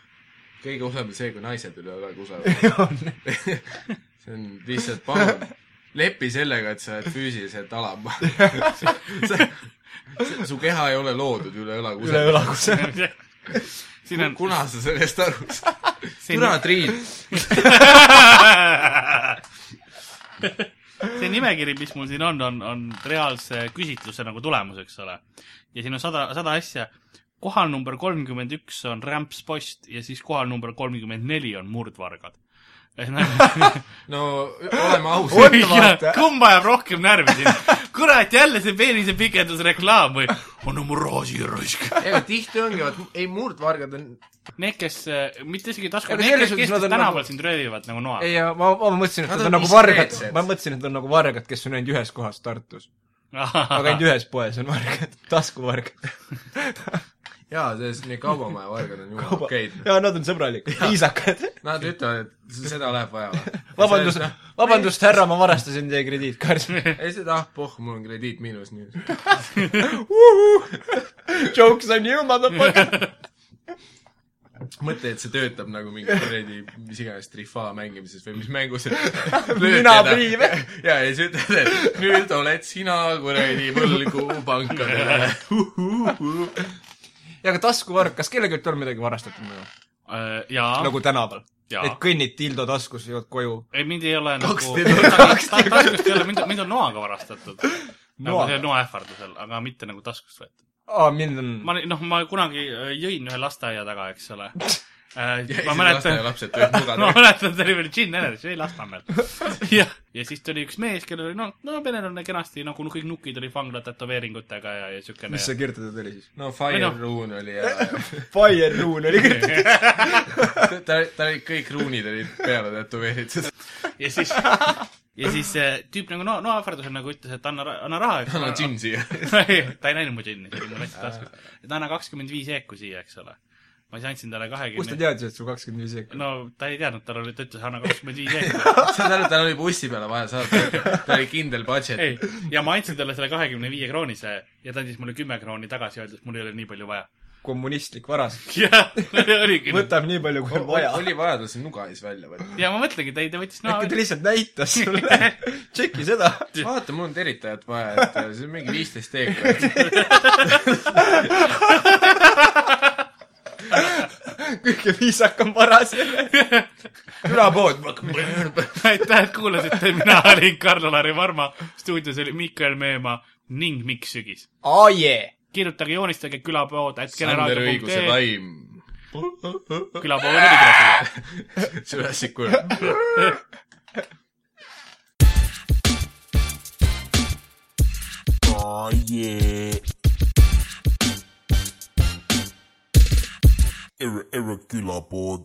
S4: kõige hullem on see , kui naised üle õla kusevad . see on lihtsalt palun , lepi sellega , et sa oled füüsiliselt alam . su keha ei ole loodud üle õla
S2: üle
S4: kusevad .
S2: õla kuse .
S3: siin on ,
S4: kuna sa sellest aru saad ?
S3: siin
S4: türa , Triin .
S3: see nimekiri , mis mul siin on , on , on reaalse küsitluse nagu tulemus , eks ole . ja siin on sada , sada asja . kohal number kolmkümmend üks on rämpspost ja siis kohal number kolmkümmend neli on murdvargad .
S4: no oleme ausad .
S2: On- vaata.
S3: kumb ajab rohkem närvi siin ? kurat , jälle see peenise pikendusreklaam või ? anna mu roosi raisk .
S4: ega tihti ongi , vaat ei murdvargad on ,
S3: Need , kes , mitte isegi tasku ,
S2: Aga
S3: need ,
S2: selles
S3: kes ,
S2: suhtes
S3: kes
S2: nad on
S3: tänaval
S2: nagu-
S3: sind röövivad nagu noa .
S2: ei , ma , ma mõtlesin , et
S4: Nad
S2: nad on
S4: on
S2: nagu vargad
S4: diskreetsed. ,
S2: ma mõtlesin , et nad on nagu vargad , kes on ainult ühes kohas Tartus . aga ainult
S3: aga
S2: ühes poes on vargad , taskuvargad .
S4: jaa , see , need kaubamaja vargad on jumala okeid .
S2: ja nad on sõbralikud , viisakad .
S4: Nad ütlevad , et seda läheb vaja .
S2: vabandust , vabandust , härra , ma varastasin teie krediitkaardi .
S4: ei seda , ah pohh , mul on krediit miinus nüüd .
S2: Jokes on you , motherfucker .
S4: mõtle , et see töötab nagu mingi kuradi , mis iganes , trifa mängimises või mis mängus .
S2: Mina priive. .
S4: ja , ja siis ütled , et nüüd oled sina kuradi võlgu pankadele .
S2: ja aga taskuvarg , kas kellelgi on midagi varastatud nagu ?
S3: Äh, jaa .
S2: nagu tänaval ?
S3: Jaa.
S2: et kõnnid dildo taskus , jõuad koju .
S3: ei , mind ei ole
S4: Kaks
S3: nagu
S4: tilo-
S3: taskust ta, ta, ei ole , mind , mind on noaga varastatud . nagu
S2: Noaga?
S3: see noa ähvardusel , aga mitte nagu taskust võetud .
S2: aa , mind on ,
S3: ma , noh , ma kunagi äh, jõin ühe lasteaia taga , eks ole äh, . ma mäletan ,
S4: lasteaialapsed tulid nuga
S3: ma
S4: taga .
S3: mäletan , see oli veel Gin Energy , ei Lasnamäel . ja , ja siis tuli üks mees , kellel oli no , no venelane kenasti nagu no, kõik nukid olid vangla tätoveeringutega ja , ja siukene .
S2: mis see kirjutatud oli siis ?
S4: no Fire
S3: Minu-
S4: Rune oli ja , ja
S2: Fire Rune oli kirjutatud .
S4: ta , ta oli , kõik ruunid olid peale tätoveeritud .
S3: ja siis , ja siis see tüüp nagu no , no ähvardusel nagu ütles , et anna , anna raha , eks
S4: annan džinn siia .
S3: ta ei näinud mu džinni , see oli mul hästi taskus . et anna kakskümmend viis eeku siia , eks ole . ma siis andsin talle
S2: kust ta
S3: kahekümne .
S2: teadis , et sul kakskümmend viis sekundit ?
S3: no ta ei teadnud , tal oli , ta ütles anna kakskümmend viis eeku .
S4: saad aru , tal oli bussi peale vaja saada , tal oli kindel budget .
S3: ei , ja ma andsin talle selle kahekümne viie kroonise ja ta andis mulle kümme krooni tagasi , öeldes mul ei ole nii palju vaja .
S2: kommunistlik varas .
S3: jah , oligi .
S2: võtab nii palju , kui on vaja .
S4: oli vaja tal see nuga siis välja võtta .
S3: ja ma mõtlengi , ta ei , ta võttis no,
S2: äkki ta lihtsalt näitas sulle , tšeki seda .
S4: vaata , mul on teritajat vaja , et äh, see on mingi viisteist teekond .
S2: kõige viisakam varas . külapood .
S3: aitäh , et kuulasite , mina olin Karl-Lari Varma , stuudios oli Miikael Meemaa ning Mikk Sügis .
S2: aa jee .
S3: kirjutage , joonistage külapood , et
S4: Sander õiguse
S3: generaator.ee ,
S4: taim .
S3: külapood oli külapood .
S4: Jurassic World .
S1: Oh yeah. Ir- irregular board.